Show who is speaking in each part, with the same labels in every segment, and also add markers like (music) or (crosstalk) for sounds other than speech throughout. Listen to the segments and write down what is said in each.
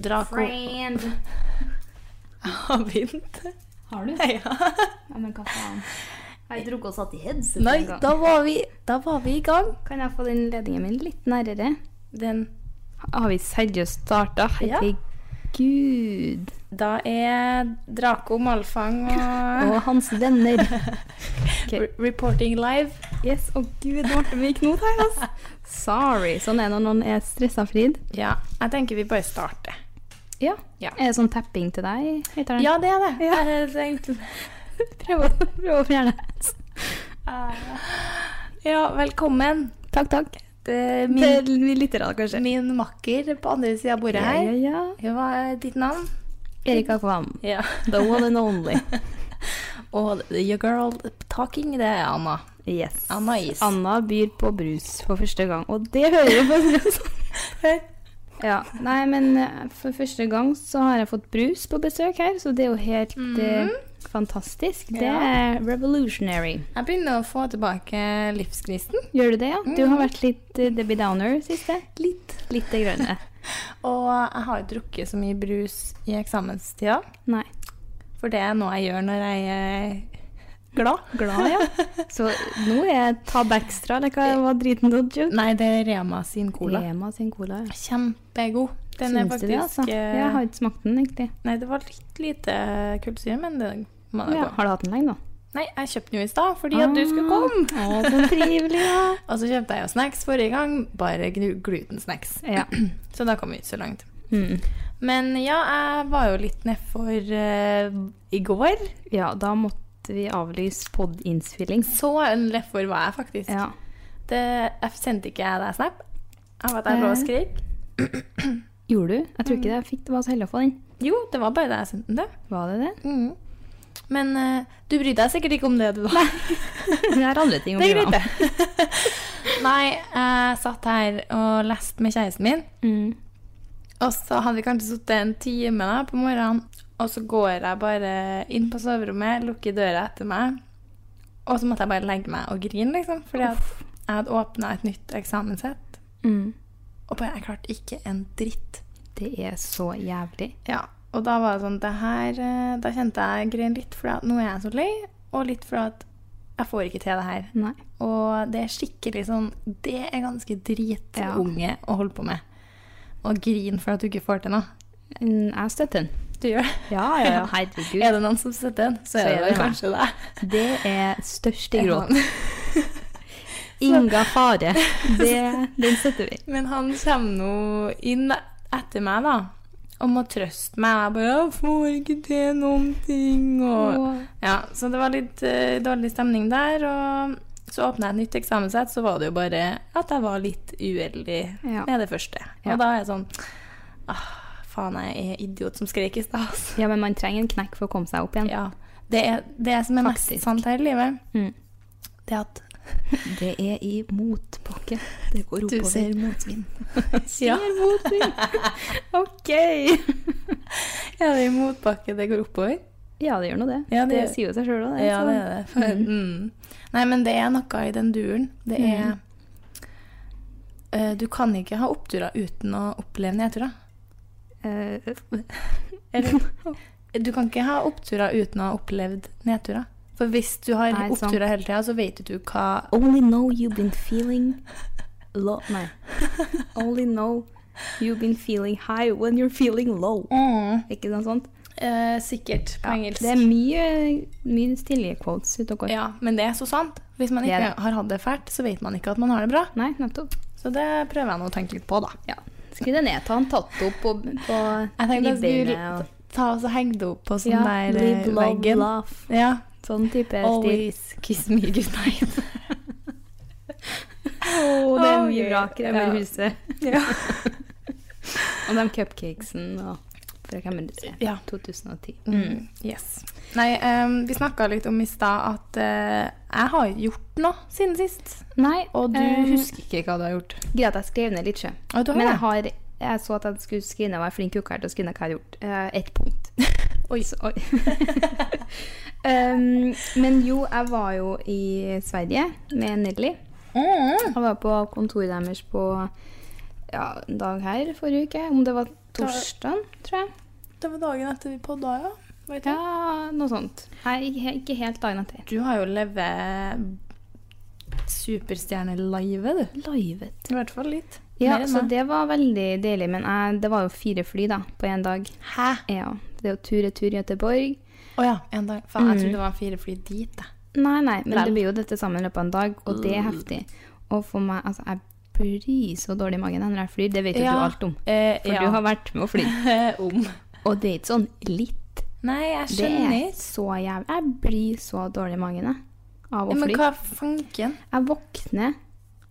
Speaker 1: Draco (laughs)
Speaker 2: Friend.
Speaker 1: har begynt.
Speaker 2: Har du?
Speaker 1: Ja.
Speaker 2: Ja, men hva faen. Har jeg drukket og satt i headset
Speaker 1: Nei,
Speaker 2: en gang?
Speaker 1: da var, vi, da var vi i gang.
Speaker 2: Kan jeg få den ledningen min litt nærere?
Speaker 1: Den,
Speaker 2: Har vi seriøst starta?
Speaker 1: Ja.
Speaker 2: Herregud.
Speaker 1: da er Draco, Malfang
Speaker 2: (laughs)
Speaker 1: og
Speaker 2: Og hans venner.
Speaker 1: re- Reporting Live.
Speaker 2: Yes, å gud, nå ble vi knot her, altså. Sorry. Sånn er det når noen er stressa, Frid.
Speaker 1: Ja, jeg tenker vi bare starter.
Speaker 2: Ja.
Speaker 1: Ja.
Speaker 2: Er det sånn tapping til deg, heter den?
Speaker 1: Ja, det er det. Jeg tenkte-
Speaker 2: Prøv, å- prøv å fjerne det.
Speaker 1: Ja, velkommen.
Speaker 2: Takk, takk.
Speaker 1: Det er
Speaker 2: Min,
Speaker 1: min,
Speaker 2: vi lytter av, kanskje.
Speaker 1: min makker på andre sida av bordet
Speaker 2: ja, ja,
Speaker 1: her.
Speaker 2: ja.
Speaker 1: Hva er ditt navn?
Speaker 2: Erika Kvam.
Speaker 1: Ja.
Speaker 2: The one and only.
Speaker 1: Og Your Girl Talking, det er Anna.
Speaker 2: Yes.
Speaker 1: Anna Is.
Speaker 2: Anna byr på brus for første gang, og det hører jo på
Speaker 1: Hør.
Speaker 2: Ja, nei, men eh, for første gang så har jeg fått brus på besøk her, så det er jo helt eh, fantastisk. Det
Speaker 1: Mm. Ja.
Speaker 2: er revolutionary.
Speaker 1: Jeg begynner å få tilbake livsgnisten.
Speaker 2: Gjør du det, ja? Du
Speaker 1: Mm.
Speaker 2: har vært litt eh, Debbie Downer siste? Litt. Litt det
Speaker 1: (laughs)
Speaker 2: grønne.
Speaker 1: Og jeg har jo drukket så mye brus i eksamenstida,
Speaker 2: Nei.
Speaker 1: for det er noe jeg gjør når jeg er glad.
Speaker 2: Glad, ja. Så nå er jeg Tab Extra, eller hva var driten du joke?
Speaker 1: Nei, det er Rema sin cola.
Speaker 2: Rema sin cola, ja.
Speaker 1: Kjempegod. Den er
Speaker 2: Synes du
Speaker 1: faktisk
Speaker 2: det, altså?
Speaker 1: eh,
Speaker 2: Jeg har ikke smakt den, egentlig.
Speaker 1: Nei, det var litt lite kullsyre, men det man er
Speaker 2: Ja.
Speaker 1: god.
Speaker 2: Har du hatt den lenge, da? Ah,
Speaker 1: Nei, jeg kjøpte den jo i stad fordi at du skulle komme.
Speaker 2: Å, så trivelig, ja.
Speaker 1: Og så kjøpte jeg jo snacks forrige gang, bare gnu- glutensnacks.
Speaker 2: Ja.
Speaker 1: Så da kom vi ikke så langt.
Speaker 2: Mm.
Speaker 1: Men ja, jeg var jo litt nedfor eh, i går.
Speaker 2: ja, da måtte vi avlyse pod-innspilling.
Speaker 1: Så nedfor var jeg faktisk.
Speaker 2: Ja.
Speaker 1: Det, jeg sendte ikke jeg deg snap av at jeg lå og skrek?
Speaker 2: Gjorde du? Jeg tror ikke det. Jeg fikk det var så heldig å få den.
Speaker 1: Jo, det var bare det jeg sendte det.
Speaker 2: Var det det?
Speaker 1: Men eh, du brydde deg sikkert ikke om det, du da.
Speaker 2: (laughs)
Speaker 1: (laughs)
Speaker 2: Det er andre ting å
Speaker 1: Det er
Speaker 2: bry
Speaker 1: greit,
Speaker 2: meg om.
Speaker 1: det. (laughs) Nei, jeg satt her og leste med kjæresten min,
Speaker 2: Mm.
Speaker 1: og så hadde vi kanskje sittet en time da, på morgenen, og så går jeg bare inn på soverommet, lukker døra etter meg, og så måtte jeg bare legge meg og grine, liksom, fordi at jeg hadde åpna et nytt eksamenssett,
Speaker 2: Mm.
Speaker 1: og bare, jeg klarte ikke en dritt.
Speaker 2: Det er så jævlig.
Speaker 1: Ja, og da var det sånn det her, eh, Da kjente jeg grein litt, for at nå er jeg så lei, og litt for at jeg får ikke til det her.
Speaker 2: Nei.
Speaker 1: Og det er skikkelig sånn Det er ganske
Speaker 2: Ja.
Speaker 1: dritunge å holde på med. Og grine for at du ikke får til noe.
Speaker 2: Mm, Jeg støtter den.
Speaker 1: Du gjør det.
Speaker 2: Ja, ja, ja. (laughs) Herregud.
Speaker 1: Er det noen som støtter den, så, er det vel
Speaker 2: meg.
Speaker 1: kanskje det.
Speaker 2: Det er
Speaker 1: (laughs)
Speaker 2: største gråt.
Speaker 1: Han-
Speaker 2: (laughs) Inga (laughs) fare. Det, den støtter vi.
Speaker 1: Men han kommer nå inn etter meg, da. Og må trøste meg. Jeg bare 'Jeg får ikke til noen ting', og
Speaker 2: Åh.
Speaker 1: Ja, så det var litt eh, dårlig stemning der. Og så åpna jeg et nytt eksamenssett, så var det jo bare at jeg var litt uheldig
Speaker 2: Ja.
Speaker 1: med det første. Og
Speaker 2: Ja.
Speaker 1: da er jeg sånn ah, Faen, jeg er idiot som skrek i stad, altså.
Speaker 2: Ja, men man trenger en knekk for å komme seg opp igjen.
Speaker 1: Ja. Det, er, det som er
Speaker 2: Faktisk.
Speaker 1: mest sant her i livet,
Speaker 2: Mm.
Speaker 1: det er at Det er i motbakke. Det går
Speaker 3: Du
Speaker 1: oppover.
Speaker 3: ser
Speaker 1: motvind.
Speaker 3: (laughs) Ja.
Speaker 1: Ser motvind. OK.
Speaker 3: ja, det er i motbakke det går oppover.
Speaker 1: Ja, det gjør nå det.
Speaker 3: Ja, det
Speaker 1: det,
Speaker 3: gjør-
Speaker 1: sier jo seg sjøl òg, det.
Speaker 3: Ja, det er det. For, mm. Nei, men det er noe i den duren. Det er Eh, Du kan ikke ha oppturer uten å oppleve nedturer.
Speaker 1: Så, eh,
Speaker 3: Eller Du kan ikke ha oppturer uten å ha opplevd nedturer. For hvis du har
Speaker 1: Nei, sant.
Speaker 3: oppturer hele tida, så vet du hva
Speaker 1: (laughs) Only know you've been feeling low Nei. Only know you've been feeling high when you're feeling low. Ikke noe sånt?
Speaker 3: eh, Sikkert på Mm. engelsk.
Speaker 1: Det er mye, mye stilige quotes ute og går.
Speaker 3: Ja, men det er så sant. Hvis man
Speaker 1: Det er
Speaker 3: ikke har hatt det fælt, så vet man ikke at man har det bra.
Speaker 1: Nei, nettopp.
Speaker 3: Så det prøver jeg nå å tenke litt på, da.
Speaker 1: Ja. Skriv det ned. Ta en tatto på,
Speaker 3: (laughs)
Speaker 1: på
Speaker 3: Jeg tenkte jeg
Speaker 1: ribbeina.
Speaker 3: skulle
Speaker 1: og-
Speaker 3: ta og så henge det opp på sånn
Speaker 1: Ja,
Speaker 3: der eh,
Speaker 1: live, love,
Speaker 3: veggen.
Speaker 1: laugh.
Speaker 3: Ja.
Speaker 1: Sånn type stil.
Speaker 3: Always kiss me
Speaker 1: (laughs)
Speaker 3: goodnight.
Speaker 1: Å, det er mye
Speaker 3: Oi,
Speaker 1: bra krem
Speaker 3: (laughs) ja.
Speaker 1: i huset. og de cupcakesen og fra Kremmerhuset.
Speaker 3: Ja.
Speaker 1: 2010.
Speaker 3: Mm, yes. Nei, em, vi snakka litt om i stad at eh, jeg har gjort noe siden sist.
Speaker 1: Nei,
Speaker 3: Og du
Speaker 1: eh,
Speaker 3: husker ikke hva du har gjort.
Speaker 1: Greit, jeg skrev ned litt, sjø.
Speaker 3: Ja, du har
Speaker 1: Men
Speaker 3: det.
Speaker 1: jeg, har, jeg så at jeg skulle skrive ned, og jeg er flink uke her til å skrive ned hva jeg har gjort. Eh, Ett
Speaker 3: (laughs)
Speaker 1: punkt. oi. Så, oi. (laughs) um, men jo, jeg var jo i Sverige med Nelly.
Speaker 3: Mm.
Speaker 1: Jeg var på kontoret deres på ja, en dag her forrige uke. Om det var torsdag, tror jeg.
Speaker 3: Det var dagen etter vi podda, ja. Vet du?
Speaker 1: Ja, noe sånt. Nei, he- ikke helt dagen etter.
Speaker 3: Du har jo levd superstjernelivet, du.
Speaker 1: Livet.
Speaker 3: I hvert fall litt.
Speaker 1: Ja,
Speaker 3: Mer enn
Speaker 1: så
Speaker 3: meg.
Speaker 1: det var veldig deilig. Men jeg, det var jo fire fly da, på én dag.
Speaker 3: Hæ?
Speaker 1: Ja, Det er jo tur-retur Göteborg.
Speaker 3: Å ja, Mm. en dag. Faen, jeg trodde det var fire fly dit, jeg.
Speaker 1: Nei, nei, men
Speaker 3: Vel. Mm.
Speaker 1: det blir jo dette sammen i løpet av en dag, og det er heftig. Og for meg, altså, jeg blir så dårlig i magen når jeg flyr. Det vet jo du alt om.
Speaker 3: Eh,
Speaker 1: For
Speaker 3: ja.
Speaker 1: du har vært med å fly.
Speaker 3: (laughs) om.
Speaker 1: Og det er ikke sånn litt.
Speaker 3: Nei, jeg
Speaker 1: Det
Speaker 3: skjønner
Speaker 1: er
Speaker 3: ikke.
Speaker 1: så jævlig. Jeg blir så dårlig i magen jeg, av å
Speaker 3: Men
Speaker 1: fly.
Speaker 3: hva fanken?
Speaker 1: Jeg våkner,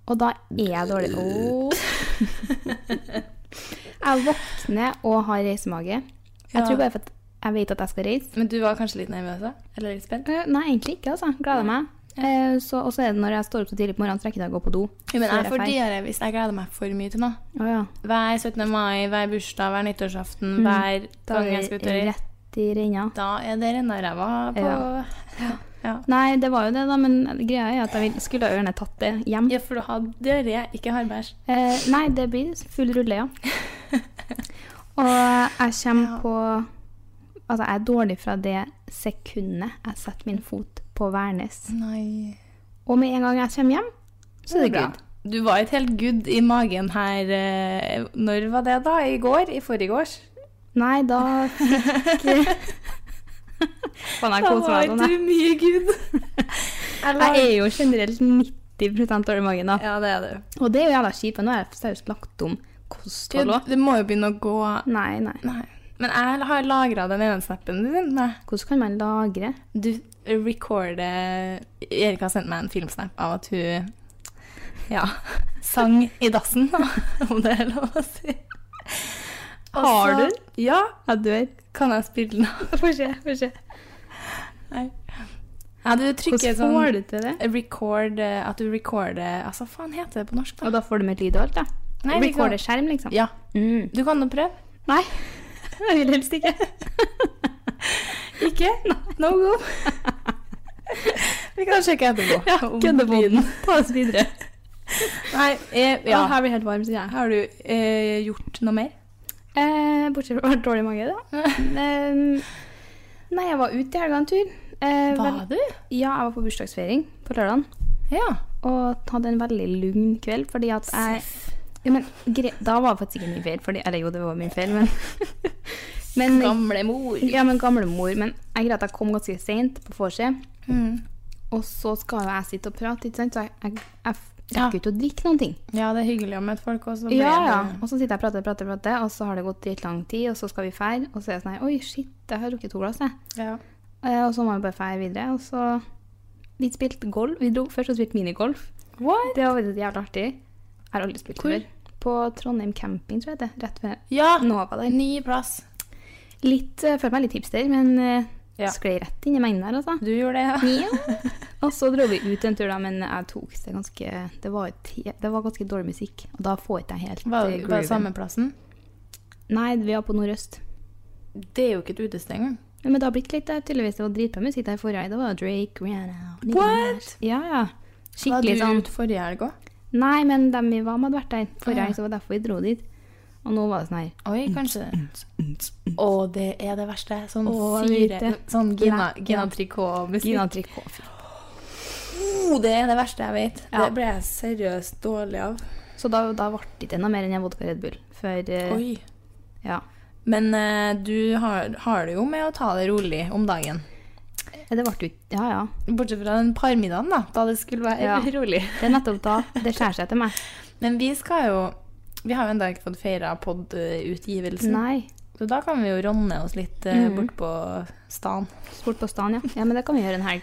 Speaker 1: og da er jeg dårlig. Åh. jeg våkner og har reisemage. Jeg
Speaker 3: Ja.
Speaker 1: tror bare for at jeg vet at jeg skal reise.
Speaker 3: Men du var kanskje litt nervøs? da? Eller litt spent?
Speaker 1: Eh, Nei, egentlig ikke, altså. Gleder meg. Eh, så- Og så er det når jeg står opp så tidlig på morgenen, så rekker jeg ikke å gå på do.
Speaker 3: Jo, men
Speaker 1: før
Speaker 3: jeg får
Speaker 1: drar.
Speaker 3: diaré hvis jeg gleder meg for mye til noe.
Speaker 1: Å ja.
Speaker 3: Hver 17. mai, hver bursdag, hver nyttårsaften, hver
Speaker 1: Da
Speaker 3: gang jeg
Speaker 1: er
Speaker 3: skal ut og
Speaker 1: det
Speaker 3: reise.
Speaker 1: rett i renna.
Speaker 3: Da er det renna ræva på
Speaker 1: Ja.
Speaker 3: Ja.
Speaker 1: Nei, det var jo det, da, men greia er at jeg vil- skulle jo gjerne tatt det hjem.
Speaker 3: Ja, for du har diaré, ikke hardbæsj.
Speaker 1: Eh, nei, det blir full rulle, (laughs) ja. Og jeg kommer på Altså, jeg er dårlig fra det sekundet jeg setter min fot på Værnes.
Speaker 3: Nei.
Speaker 1: Og med en gang jeg kommer hjem, så er det good.
Speaker 3: Du var et helt good i magen her eh, Når var det, da? I går? I forgårs?
Speaker 1: Nei, da fikk (laughs) Faen, jeg koser meg sånn. jeg.
Speaker 3: du mye good.
Speaker 1: Jeg er jo generelt 90 dårlig i magen, da.
Speaker 3: (laughs) Ja, det er du.
Speaker 1: Og det er jo jævla kjipt. men Nå har jeg seriøst lagt om kosthold òg.
Speaker 3: Det må jo begynne å gå
Speaker 1: Nei, nei.
Speaker 3: Nei. Men jeg har lagra den ene snappen din. Nei.
Speaker 1: Hvordan kan man lagre?
Speaker 3: Du recorder Erik eh, har sendt meg en filmsnap av at hun ja, (laughs) sang i dassen, da, (laughs) om det er lov å si. Og
Speaker 1: Har
Speaker 3: så-
Speaker 1: du den?
Speaker 3: Ja.
Speaker 1: Jeg dør.
Speaker 3: Kan jeg spille den av?
Speaker 1: Få se, få se.
Speaker 3: Nei. Ja, du trykker
Speaker 1: Hvordan
Speaker 3: sånn
Speaker 1: får du til det?
Speaker 3: Record eh, At du recorder Altså, faen heter det på norsk, da?
Speaker 1: Og da får du med lyd og alt, da?
Speaker 3: Nei, vi kan-
Speaker 1: Recorder skjerm, liksom?
Speaker 3: Ja.
Speaker 1: Mm.
Speaker 3: Du kan jo prøve.
Speaker 1: (laughs) Nei, jeg vil helst ikke.
Speaker 3: (laughs) Ikke? No go. vi kan sjekke etterpå. om lyden-
Speaker 1: Ta oss videre.
Speaker 3: Nei, eh, ja.
Speaker 1: Å, her blir helt varm, sier jeg.
Speaker 3: Har du eh, gjort noe (laughs) mer?
Speaker 1: (laughs) Eh, bortsett fra å være dårlig i magen, da. Em, nei, jeg var ute i helga en tur. Eh, vel-
Speaker 3: du?
Speaker 1: Ja, jeg var på bursdagsfeiring på lørdagen.
Speaker 3: Ja.
Speaker 1: Og hadde en veldig lugn kveld, fordi at jeg ja, men, gre Da var det faktisk ikke min feil, fordi, eller jo, det var min feil, (laughs) men, men
Speaker 3: Gamle mor.
Speaker 1: Ja, men gamlemor. Men jeg greier at jeg kom ganske seint på vorset.
Speaker 3: Mm.
Speaker 1: Og så skal jo jeg sitte og prate, ikke sant? så jeg, jeg, jeg f-
Speaker 3: Ja.
Speaker 1: rekker jo ikke å drikke noen ting.
Speaker 3: Ja, det er hyggelig å møte folk også.
Speaker 1: Ja, ja. Og så sitter jeg og prater, prater, prater, og så har det gått dritlang tid, og så skal vi feire, og så er jeg sånn her, Oi, shit, jeg har drukket to glass, jeg.
Speaker 3: ja.
Speaker 1: Eh, Og så må vi bare feire videre. Og så Vi spilte golf. Vi dro først og spilte minigolf. Det var veldig jævlig artig. Jeg har aldri spilt før. På Trondheim camping, tror jeg det er. Rett ved
Speaker 3: Ja.
Speaker 1: Nova der.
Speaker 3: Ny plass.
Speaker 1: Litt, eh, føler meg litt hipster, men eh, Ja.
Speaker 2: Sklei rett inn i mengden der, altså.
Speaker 1: Du gjorde det, ja. (laughs)
Speaker 2: Ja. Og så dro vi ut en tur, da, men jeg tok det ganske Det var, et, he- det var ganske dårlig musikk, og da får ikke jeg helt
Speaker 1: Var det
Speaker 2: eh,
Speaker 1: var det
Speaker 2: grooven.
Speaker 1: samme plassen?
Speaker 2: Nei, vi var på Nordøst.
Speaker 1: Det er jo ikke et utested engang.
Speaker 2: Ja, men det har blitt litt der, tydeligvis. Det var dritbra musikk der forrige. Det var Drake, Rihanna Nicki
Speaker 1: What?
Speaker 2: Minaj. Ja, ja.
Speaker 1: Var
Speaker 2: Skikkelig
Speaker 1: du
Speaker 2: sånn
Speaker 1: ute forrige helg òg?
Speaker 2: Nei, men dem vi var med, hadde vært der forrige,
Speaker 1: Ah, ja.
Speaker 2: så det var derfor vi dro dit. Og nå var det sånn her
Speaker 1: Oi, kanskje. Å, det er det verste. Sånn
Speaker 2: Å, jeg vet
Speaker 1: syre
Speaker 2: det.
Speaker 1: Sånn Gina,
Speaker 2: Nei, ja.
Speaker 1: Gina Tricot-musikk.
Speaker 2: Gina Tricot. fy.
Speaker 1: Å, det er det verste jeg vet.
Speaker 2: Ja.
Speaker 1: Det ble jeg seriøst dårlig av.
Speaker 2: Så da, da ble det ikke noe mer enn en vodka Red Bull. For eh,
Speaker 1: Oi.
Speaker 2: ja.
Speaker 1: Men eh, du har, har det jo med å ta det rolig om dagen.
Speaker 2: Ja, Det ble jo ikke Ja, ja.
Speaker 1: Bortsett fra den parmiddagen, da, da det skulle være
Speaker 2: Ja.
Speaker 1: (laughs) rolig.
Speaker 2: Det er nettopp da det skjærer seg
Speaker 1: (laughs)
Speaker 2: til meg.
Speaker 1: Men vi skal jo Vi har jo ennå ikke fått feira podutgivelsen,
Speaker 2: Nei.
Speaker 1: så da kan vi jo ronne oss litt eh,
Speaker 2: Mhm.
Speaker 1: bort på stan.
Speaker 2: Sport på stan, ja. Ja, Men det kan vi gjøre en helg.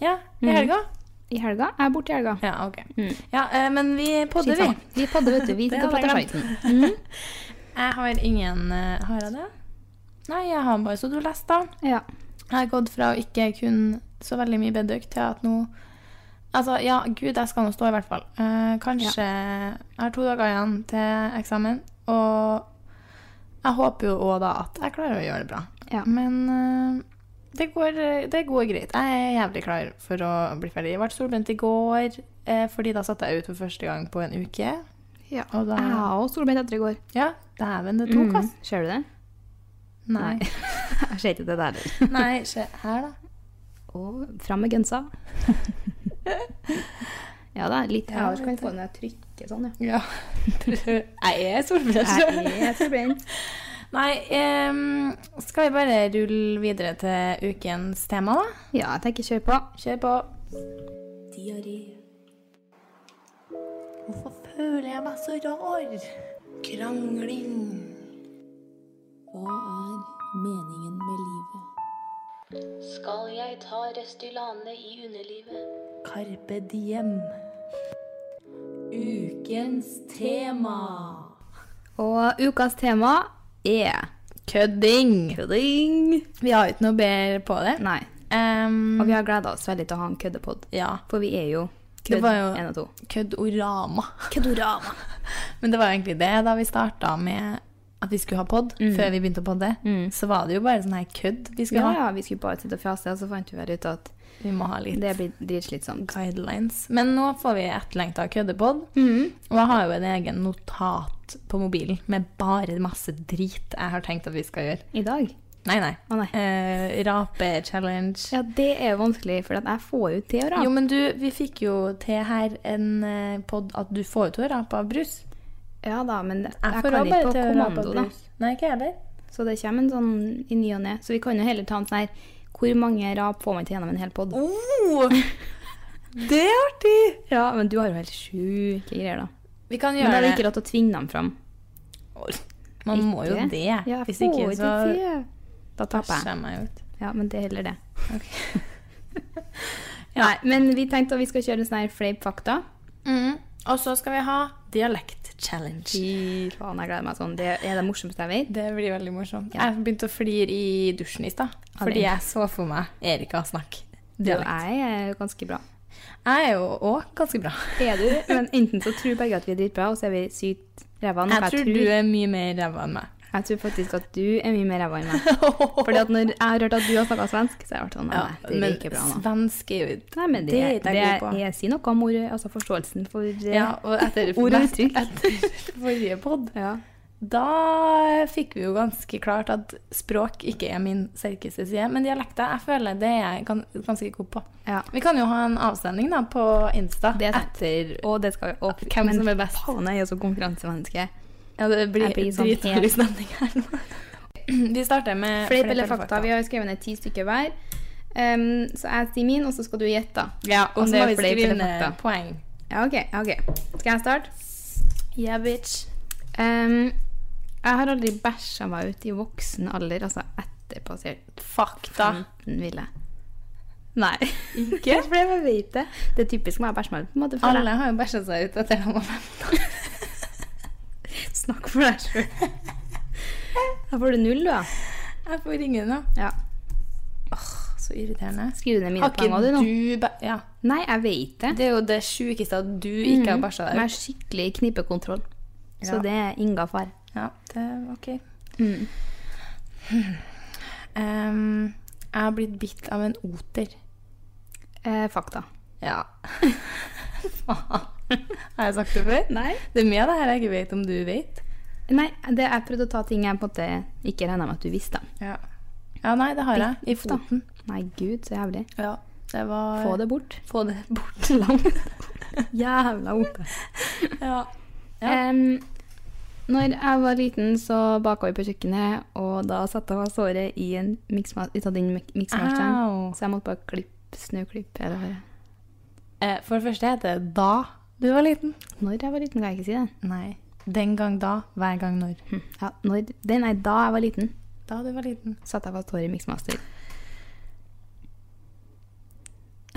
Speaker 1: Ja, i
Speaker 2: Mhm.
Speaker 1: helga.
Speaker 2: I helga? Jeg er borte i helga.
Speaker 1: Ja, OK.
Speaker 2: Mm.
Speaker 1: Ja, eh, men vi podder, vi.
Speaker 2: Skitt sammen. Vi podder, vet du. Vi
Speaker 1: Det
Speaker 2: sitter og
Speaker 1: hadde
Speaker 2: prater
Speaker 1: jeg
Speaker 2: skiten. Mm.
Speaker 1: Jeg har ingen eh, Har jeg det? Nei, jeg har bare så du lest, da.
Speaker 2: Ja.
Speaker 1: Jeg har gått fra å ikke kunne så veldig mye bedøk til at nå Altså, ja, gud, jeg skal nå stå, i hvert fall. Eh, kanskje Jeg har to dager igjen til eksamen, og jeg håper jo òg da at jeg klarer å gjøre det bra.
Speaker 2: Ja.
Speaker 1: Men eh, det, går, det går greit. Jeg er jævlig klar for å bli ferdig. Jeg ble solbrent i går, eh, fordi da satte jeg ut for første gang på en uke.
Speaker 2: ja. Mm.
Speaker 1: Og da
Speaker 2: Jeg har også solbrent etter i går.
Speaker 1: Ja, dæven, det tok, ass.
Speaker 2: Ser du det?
Speaker 1: Nei.
Speaker 2: Jeg ser ikke det der.
Speaker 1: Nei, se her, da.
Speaker 2: Og fram med gønsa. (laughs) ja da, litt
Speaker 1: Ja,
Speaker 2: ellers kan jeg få den der trykke sånn, ja.
Speaker 1: Ja. jeg er solbrent.
Speaker 2: (laughs) Jeg er solbrent.
Speaker 1: Nei, ehm, skal vi bare rulle videre til ukens tema, da?
Speaker 2: Ja, jeg tenker kjør på.
Speaker 1: Kjør på. Hvorfor føler jeg meg så rar? Krangling.
Speaker 4: Hva er meningen med livet? Skal jeg ta Restylane i underlivet?
Speaker 1: Carpe diem.
Speaker 4: Ukens tema!
Speaker 2: Og ukas tema er
Speaker 1: Kødding.
Speaker 2: kødding.
Speaker 1: Vi har ikke noe bedre på det.
Speaker 2: Nei.
Speaker 1: Ehm,
Speaker 2: Og vi har gleda oss veldig til å ha en køddepod.
Speaker 1: ja.
Speaker 2: For vi er jo
Speaker 1: Det
Speaker 2: kødd
Speaker 1: var jo-
Speaker 2: én og to.
Speaker 1: Køddorama.
Speaker 2: Køddorama.
Speaker 1: (laughs) Men det var jo egentlig det da vi starta med at vi skulle ha pod, før vi begynte å podde. Så var det jo bare sånn her kødd vi skulle
Speaker 2: Ja,
Speaker 1: ha.
Speaker 2: ja, vi skulle bare sitte og fjase, og så fant vi vel ut at
Speaker 1: Vi må ha litt
Speaker 2: det blir dritslitsomt.
Speaker 1: guidelines. Men nå får vi etterlengta køddepod. Og jeg har jo en egen notat på mobilen med bare masse drit jeg har tenkt at vi skal gjøre.
Speaker 2: I dag?
Speaker 1: Nei, nei.
Speaker 2: Å nei.
Speaker 1: Eh, Rape-challenge.
Speaker 2: Ja, det er jo vanskelig, for at jeg får jo til å rape.
Speaker 1: Jo, men du, vi fikk jo til her en eh, pod at du får jo til å rape av brus.
Speaker 2: Ja da, men jeg,
Speaker 1: får
Speaker 2: kan
Speaker 1: også bare
Speaker 2: ikke på
Speaker 1: til å rape av
Speaker 2: kommando, da.
Speaker 1: brus. Nei, ikke jeg heller.
Speaker 2: Så det kommer en sånn i ny og ne. Så vi kan jo heller ta en sånn her Hvor mange rap får man til gjennom en hel pod?
Speaker 1: Oh, det er artig!
Speaker 2: Ja, men du har jo helt sjuke greier, da.
Speaker 1: Vi kan
Speaker 2: Men da
Speaker 1: gjøre
Speaker 2: er det ikke
Speaker 1: det.
Speaker 2: lov til å tvinge dem fram.
Speaker 1: Man må jo
Speaker 2: Ikke?
Speaker 1: det.
Speaker 2: Ja,
Speaker 1: Hvis ikke,
Speaker 2: får
Speaker 1: så
Speaker 2: ikke til. Da taper jeg.
Speaker 1: skjemmer jeg meg ut.
Speaker 2: Ja, men det er heller det. (laughs) Nei, men vi tenkte at vi skal kjøre en sånn her fleip fakta.
Speaker 1: Mm. Og så skal vi ha dialekt-challenge.
Speaker 2: Fy faen, jeg gleder meg sånn. Det er det morsomste jeg vet.
Speaker 1: Det blir veldig morsomt. Jeg begynte å flire i dusjen i stad.
Speaker 2: Ja,
Speaker 1: Fordi
Speaker 2: det-
Speaker 1: jeg så for meg Erika snakke
Speaker 2: Du og
Speaker 1: dialekt.
Speaker 2: jeg er jo ganske bra.
Speaker 1: Jeg er jo òg ganske bra.
Speaker 2: Er du? Men enten så tror begge at vi er dritbra, og så er vi sykt ræva. noe
Speaker 1: Jeg tror du er mye mer ræva (laughs) enn meg.
Speaker 2: Jeg tror faktisk at du er mye mer ræva enn meg. Fordi at når jeg har hørt at du har snakka svensk, så har jeg vært sånn Nei, det er
Speaker 1: men
Speaker 2: ikke bra nå.
Speaker 1: svensk er jo
Speaker 2: Nei, men det,
Speaker 1: det er ikke
Speaker 2: det
Speaker 1: jeg god på.
Speaker 2: jeg sier noe om ord, altså forståelsen for eh,
Speaker 1: Ja, og (laughs) etter,
Speaker 2: ord og uttrykk.
Speaker 1: etter forrige pod,
Speaker 2: Ja.
Speaker 1: da fikk vi jo ganske klart at språk ikke er min sterkeste side. Men dialekter, jeg føler det er jeg gan- ganske god på.
Speaker 2: Ja.
Speaker 1: Vi kan jo ha en avstemning da på Insta
Speaker 2: Det er sant.
Speaker 1: etter (clears throat)
Speaker 2: Og det skal vi opp.
Speaker 1: Hvem som er best.
Speaker 2: Faen, jeg er så konkurransemenneske.
Speaker 1: Ja, det blir,
Speaker 2: Jeg blir sånn
Speaker 1: dritdårlig stemning her nå. Vi starter med
Speaker 2: Fleip eller fakta? Vi har jo skrevet ned ti stykker hver. Um, så jeg sier min, og så skal du gjette. da.
Speaker 1: Ja,
Speaker 2: om
Speaker 1: og så
Speaker 2: det
Speaker 1: må
Speaker 2: er
Speaker 1: vi
Speaker 2: fleip
Speaker 1: skrive
Speaker 2: eller
Speaker 1: ned
Speaker 2: fakta.
Speaker 1: poeng.
Speaker 2: Ja, OK. ja, ok. Skal jeg starte?
Speaker 1: Yeah, bitch.
Speaker 2: Um, jeg har aldri bæsja meg ut i voksen alder, altså etter passert
Speaker 1: Fakta.
Speaker 2: 15, vil jeg. Nei. Ikke? For (laughs) jeg vet det. Det er typisk meg å bæsje meg ut, på en måte. føler jeg.
Speaker 1: Alle har jo bæsja seg ut etter han var 15.
Speaker 2: (laughs) Snakk for deg sjøl. Da får du null, du, da.
Speaker 1: Jeg får ringe nå.
Speaker 2: Ja.
Speaker 1: så irriterende.
Speaker 2: Skriv ned mine
Speaker 1: Har
Speaker 2: poeng også,
Speaker 1: ikke
Speaker 2: du nå.
Speaker 1: du bæ... Ja.
Speaker 2: Nei, jeg vet det.
Speaker 1: Det er jo det sjukeste at du ikke har bæsja
Speaker 2: Men
Speaker 1: deg
Speaker 2: jeg
Speaker 1: ut.
Speaker 2: har skikkelig knipekontroll. Så
Speaker 1: Ja.
Speaker 2: det er Inga far.
Speaker 1: Ja, det er OK. Mm. (laughs) Em, jeg har blitt bitt av en oter.
Speaker 2: Eh, fakta.
Speaker 1: Ja. (laughs) Faen. Har jeg sagt det før?
Speaker 2: Nei.
Speaker 1: Det er mye av det her jeg ikke vet om du vet.
Speaker 2: Nei, det, jeg prøvde å ta ting jeg på en måte ikke regna med at du visste.
Speaker 1: Ja. ja, nei, det har jeg. I
Speaker 2: Da.
Speaker 1: foten.
Speaker 2: Nei, gud, så jævlig.
Speaker 1: Ja, det var
Speaker 2: Få det bort.
Speaker 1: Få det (laughs) bort langt.
Speaker 2: Jævla ote.
Speaker 1: (laughs) ja.
Speaker 2: Em, når jeg var liten, så baka vi på kjøkkenet, og da satte jeg av såret i en miksma- vi tatt inn mik- miksmaskeren.
Speaker 1: Au.
Speaker 2: Så jeg måtte bare klippe, snøklippe eller hva det er.
Speaker 1: Eh, For det første heter det da du var liten.
Speaker 2: Når jeg var liten, kan jeg ikke si det.
Speaker 1: Nei. Den gang da, hver gang når.
Speaker 2: Ja, når, det nei, da jeg var liten,
Speaker 1: Da du var liten.
Speaker 2: satte jeg fast håret i miksmaster.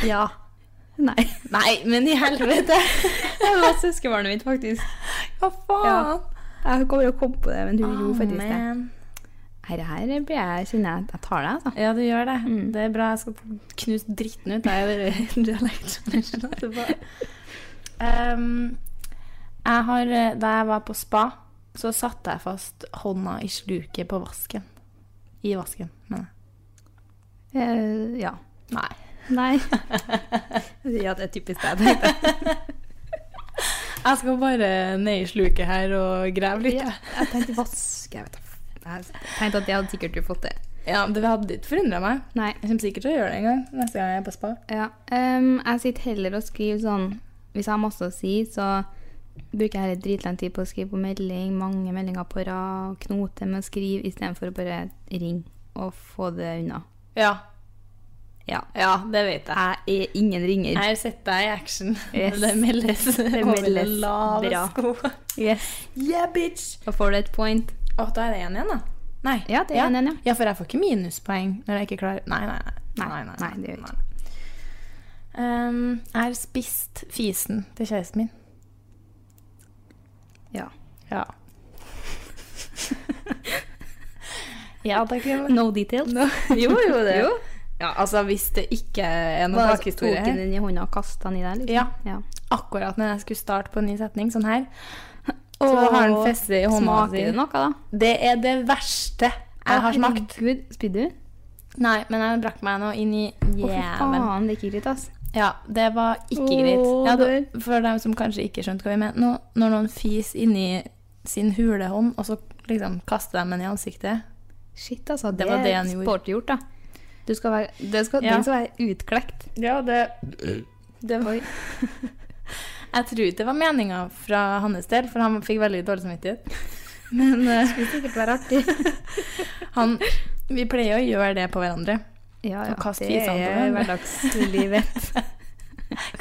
Speaker 1: Ja.
Speaker 2: Nei.
Speaker 1: Nei, men i helvete!
Speaker 2: (laughs) Det var søskenbarnet mitt, faktisk.
Speaker 1: Hva faen?
Speaker 2: Ja. Jeg kommer til å komme på det, men hun
Speaker 1: Oh,
Speaker 2: gjorde faktisk det.
Speaker 1: man.
Speaker 2: Her, her blir jeg, kjenner jeg at jeg tar deg, altså.
Speaker 1: Ja, du gjør det. Det er bra. Jeg skal knuse dritten ut av (laughs) dere dialektene etterpå. Um, jeg har, eh, da jeg var på spa, så satte jeg fast hånda i sluket på vasken. I vasken, mener jeg.
Speaker 2: Eh, ja.
Speaker 1: Nei.
Speaker 2: (laughs) Nei. ja, det er typisk deg. tenkte jeg.
Speaker 1: Jeg skal bare ned i sluket her og grave litt.
Speaker 2: Ja, jeg tenkte vask, jeg vet da. Jeg tenkte at det hadde sikkert du fått det.
Speaker 1: Ja, det hadde ikke forundra meg.
Speaker 2: Nei.
Speaker 1: Jeg kommer sikkert til å gjøre det en gang neste gang jeg er på spa.
Speaker 2: Ja. ehm, jeg sitter heller og skriver sånn Hvis jeg har masse å si, så bruker jeg heller dritlang tid på å skrive på melding, mange meldinger på rad, knote med å skrive, istedenfor å bare ringe og få det unna.
Speaker 1: Ja.
Speaker 2: Ja.
Speaker 1: Ja, det vet jeg.
Speaker 2: Jeg er ingen ringer.
Speaker 1: Jeg har sett deg i action.
Speaker 2: Yes.
Speaker 1: Det meldes over
Speaker 2: meldes
Speaker 1: den lave
Speaker 2: bra.
Speaker 1: sko.
Speaker 2: Yes.
Speaker 1: Yeah, bitch!
Speaker 2: Da får du et point.
Speaker 1: Å, da er det én igjen, da. Nei.
Speaker 2: Ja, det er en igjen, ja.
Speaker 1: for jeg får ikke minuspoeng når jeg ikke klarer Nei, nei, nei.
Speaker 2: Nei, nei, det gjør jeg
Speaker 1: Um, jeg har spist fisen til kjæresten min.
Speaker 2: Ja.
Speaker 1: (laughs) Ja. ja, takk.
Speaker 2: No details.
Speaker 1: Jo, jo, det.
Speaker 2: Jo.
Speaker 1: Ja, altså, hvis det ikke er noen
Speaker 2: Bare tok
Speaker 1: bakhistorie
Speaker 2: den
Speaker 1: her.
Speaker 2: inn i hånda og kastet den i deg, liksom.
Speaker 1: Ja.
Speaker 2: ja.
Speaker 1: Akkurat når jeg skulle starte på en ny setning, sånn her, så har den festet i hånda
Speaker 2: Smaker
Speaker 1: si.
Speaker 2: det noe, da?
Speaker 1: Det er det verste jeg har smakt.
Speaker 2: Herregud, spydde du?
Speaker 1: Nei, men jeg brakk meg nå inn i
Speaker 2: Å, fy
Speaker 1: jævelen.
Speaker 2: faen, det er ikke greit, ass.
Speaker 1: Ja, det var ikke
Speaker 2: Åh,
Speaker 1: greit. Ja,
Speaker 2: dør.
Speaker 1: det, for dem som kanskje ikke skjønte hva vi mente nå, når noen fis inni sin hulehånd, og så liksom kaster de den i ansiktet.
Speaker 2: Shit, altså.
Speaker 1: Det
Speaker 2: Det,
Speaker 1: var det han
Speaker 2: er
Speaker 1: gjorde.
Speaker 2: sporty gjort, da. Du skal være, det skal,
Speaker 1: Ja.
Speaker 2: Den skal være utklekt.
Speaker 1: Ja, det, var (laughs) Jeg tror ikke det var meninga fra hans del, for han fikk veldig dårlig samvittighet. Men eh,
Speaker 2: Det skal sikkert være
Speaker 1: (laughs)
Speaker 2: artig.
Speaker 1: han Vi pleier å gjøre det på hverandre.
Speaker 2: ja,
Speaker 1: Og kast
Speaker 2: det
Speaker 1: fisene på
Speaker 2: er
Speaker 1: hverandre. (laughs)
Speaker 2: hverdagslivet.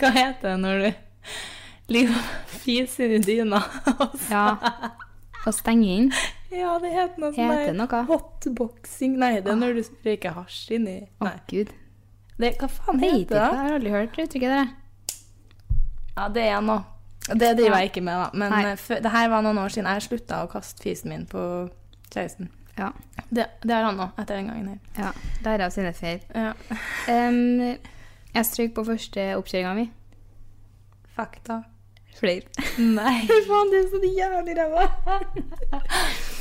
Speaker 1: Hva heter det når du ligger og fiser i dyna? (laughs)
Speaker 2: ja. Å stenge inn.
Speaker 1: ja, det heter noe sånn
Speaker 2: Heter det noe?
Speaker 1: Hotboxing. Nei, det er når du røyker hasj inni
Speaker 2: Å,
Speaker 1: Nei.
Speaker 2: gud.
Speaker 1: Det, hva faen
Speaker 2: Jeg vet
Speaker 1: heter
Speaker 2: ikke,
Speaker 1: det?
Speaker 2: jeg har aldri hørt det uttrykket der. jeg.
Speaker 1: Ja, det er noe. Det driver
Speaker 2: Ja.
Speaker 1: jeg ikke med, da. Men
Speaker 2: Nei.
Speaker 1: eh, før- det her var noen år siden jeg slutta å kaste fisen min på kjæresten.
Speaker 2: Ja.
Speaker 1: Det, det har han nå, etter den gangen her.
Speaker 2: ja. Der er sine feil.
Speaker 1: Ja.
Speaker 2: Em, jeg strøk på første oppkjøringa mi.
Speaker 1: Fakta.
Speaker 2: (laughs) Flaut.
Speaker 1: Nei.
Speaker 2: Faen, du er så jævlig (laughs) ræva.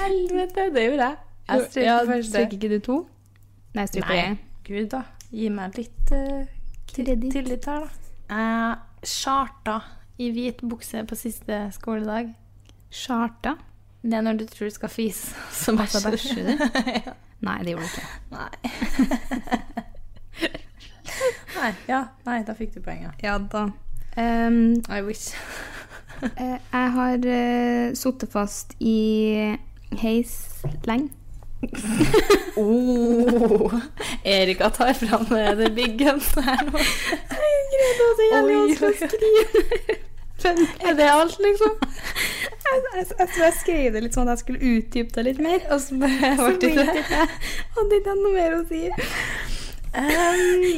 Speaker 1: Helvete, det gjorde jeg. Jeg strøk
Speaker 2: Ja,
Speaker 1: på første.
Speaker 2: Strøk ikke du to? Nei, strøk
Speaker 1: Nei.
Speaker 2: bare én.
Speaker 1: Gud, da. Gi meg litt eh,
Speaker 2: Tillit.
Speaker 1: tillit her, da. Jeg Eh, charta i hvit bukse på siste skoledag.
Speaker 2: Charta?
Speaker 1: Det er når du tror du skal fise, (laughs) så
Speaker 2: Da
Speaker 1: bæsjer du.
Speaker 2: bæsjer du? (laughs) Nei, det gjorde du ikke.
Speaker 1: Nei. (laughs) nei, ja, nei, da fikk du poenget.
Speaker 2: Ja da. Um,
Speaker 1: I wish.
Speaker 2: eh, jeg har uh, sittet fast i heis lenge.
Speaker 1: Oh, Erika tar fram eh, the big (laughs) guns her nå. jævlig vanskelig å (laughs) Er det alt, liksom?
Speaker 2: (laughs) Jeg, jeg, jeg tror jeg skrev det litt sånn at jeg skulle utdype det litt mer. Og så bare
Speaker 1: Så
Speaker 2: ble
Speaker 1: ble
Speaker 2: det
Speaker 1: det
Speaker 2: (laughs) ikke. Hadde ikke jeg noe mer å si.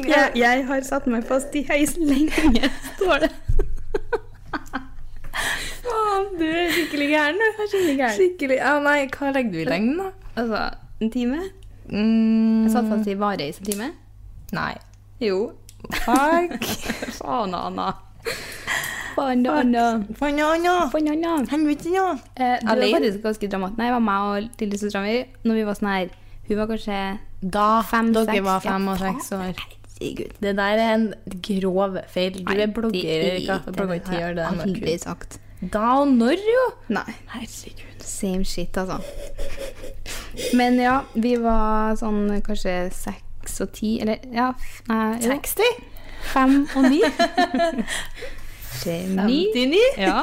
Speaker 2: jeg, jeg har satt meg fast i heis lenge, står det.
Speaker 1: Faen, du er skikkelig gæren, du. Skikkelig
Speaker 2: gæren.
Speaker 1: Skikkelig. Ja, nei, hva legger du i lengden, da?
Speaker 2: Altså, en time?
Speaker 1: Mm,
Speaker 2: Jeg satt fast i vareheis en time.
Speaker 3: Nei. Jo. (laughs) Fuck.
Speaker 1: Banana. Banana.
Speaker 3: Banana.
Speaker 1: Banana.
Speaker 3: Helvete, ja.
Speaker 1: Eh, du var
Speaker 3: Alene?
Speaker 1: faktisk ganske dramatisk. Nei, det var meg og lillesøstera mi når vi var sånn her Hun var kanskje
Speaker 3: Da
Speaker 1: Fem,
Speaker 3: dere
Speaker 1: seks,
Speaker 3: var
Speaker 1: ja,
Speaker 3: fem og
Speaker 1: faen.
Speaker 3: seks år. Det der er en grov feil. Du er blogger hva- blogger i ti år. Det
Speaker 1: har
Speaker 3: er
Speaker 1: jeg aldri
Speaker 3: nok-
Speaker 1: sagt.
Speaker 3: da og når, jo!
Speaker 1: Nei.
Speaker 3: Herregud.
Speaker 1: Same shit, altså. Men ja, vi var sånn kanskje seks og ti, eller ja f- Nei, jo.
Speaker 3: 60?
Speaker 1: Fem og (laughs) ni. Geni.
Speaker 3: 59?
Speaker 1: Ja.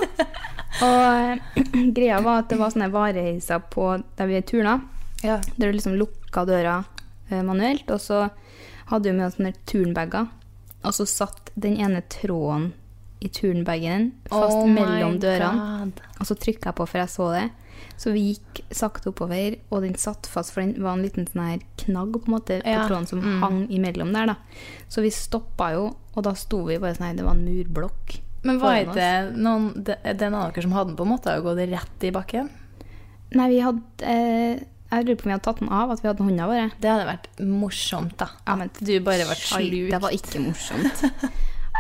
Speaker 1: Og (clears throat) greia var at det var sånne vareheiser på der vi turna.
Speaker 3: Ja.
Speaker 1: Der du liksom lukka døra eh, manuelt, og så hadde vi med oss sånne turnbager. Og så satt den ene tråden i turnbagen fast
Speaker 3: Oh my
Speaker 1: mellom dørene.
Speaker 3: God.
Speaker 1: Og så trykka jeg på, for jeg så det. Så vi gikk sakte oppover, og den satt fast, for den var en liten sånn her knagg på en måte på
Speaker 3: Ja. Mm.
Speaker 1: tråden som hang imellom der. da. Så vi stoppa jo, og da sto vi bare sånn her, det var en murblokk.
Speaker 3: Men var
Speaker 1: foran oss.
Speaker 3: ikke noen de- den av dere som hadde den på, måtte jo gått rett i bakken?
Speaker 1: Nei, vi hadde eh, Jeg lurer på om vi hadde tatt den av, at vi hadde hånda våre.
Speaker 3: Det hadde vært morsomt, da.
Speaker 1: Ja, men
Speaker 3: At du bare var
Speaker 1: Shit,
Speaker 3: sjalu.
Speaker 1: Det var ikke
Speaker 3: (laughs)
Speaker 1: morsomt.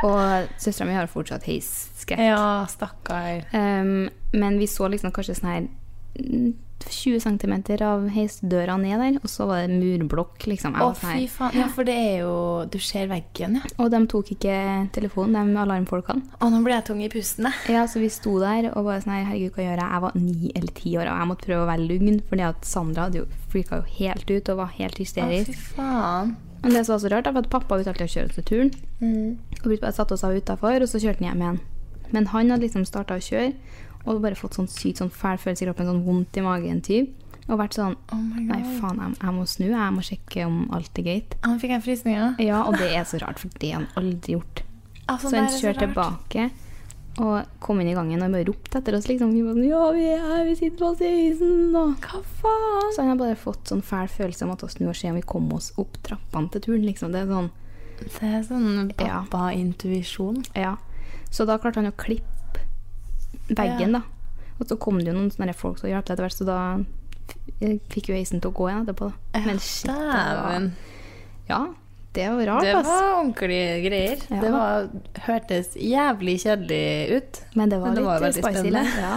Speaker 1: Og søstera mi har fortsatt heisskrekk.
Speaker 3: Ja, stakkar.
Speaker 1: Um, men vi så liksom kanskje sånn her mm, 20 cm av heisdøra ned der, og så var det murblokk, liksom. Jeg
Speaker 3: Å,
Speaker 1: var sånn
Speaker 3: fy
Speaker 1: her.
Speaker 3: faen. Ja, for det er jo Du ser veggen, ja.
Speaker 1: Og de tok ikke telefonen, de alarmfolkene.
Speaker 3: Å, nå ble jeg tung i pusten, jeg.
Speaker 1: Ja, så vi sto der og bare sånn her, herregud, hva gjør jeg? Jeg var ni eller ti år, og jeg måtte prøve å være lugn, fordi at Sandra hadde jo freaka jo helt ut og var helt
Speaker 3: Å,
Speaker 1: hysterisk.
Speaker 3: fy faen.
Speaker 1: Men det som var så rart, er at pappa ville alltid kjøre oss til turen. Og vi bare satte oss av utafor, og så kjørte han hjem igjen. Men han hadde liksom starta å kjøre og bare fått sånn sykt sånn fæl følelse i kroppen, sånn vondt i magen typ. Og vært sånn
Speaker 3: Oh
Speaker 1: Nei, faen, jeg, jeg må snu. Jeg må sjekke om alt er greit.
Speaker 3: Han fikk en frysning, ja.
Speaker 1: Ja, og det er så rart, for det har han aldri gjort.
Speaker 3: Altså,
Speaker 1: så han
Speaker 3: det er så
Speaker 1: kjørte
Speaker 3: rart.
Speaker 1: tilbake og kom inn i gangen og bare ropte etter oss. liksom. Vi var sånn, ja, vi er her, vi sitter fast i isen, og
Speaker 3: Hva faen?
Speaker 1: så han har bare fått sånn fæl følelse om at å snu og se om vi kom oss opp trappene til turen, liksom. Det er sånn,
Speaker 3: Det er sånn
Speaker 1: Ja.
Speaker 3: pappa-intuisjon.
Speaker 1: ja. Så da klarte han å klippe veggen, da. Og så kom det jo noen sånne folk som hjalp til etter hvert, så da f- eh, fikk jo heisen til å gå igjen etterpå, da. Men shit, det var,
Speaker 3: Dæven.
Speaker 1: ja, det var rart,
Speaker 3: Det
Speaker 1: ass.
Speaker 3: var ordentlige greier.
Speaker 1: Ja.
Speaker 3: Det var, hørtes jævlig kjedelig ut.
Speaker 1: Men det var
Speaker 3: Men det
Speaker 1: litt
Speaker 3: var
Speaker 1: eh,
Speaker 3: veldig
Speaker 1: spicy.
Speaker 3: spennende.
Speaker 1: det. Ja.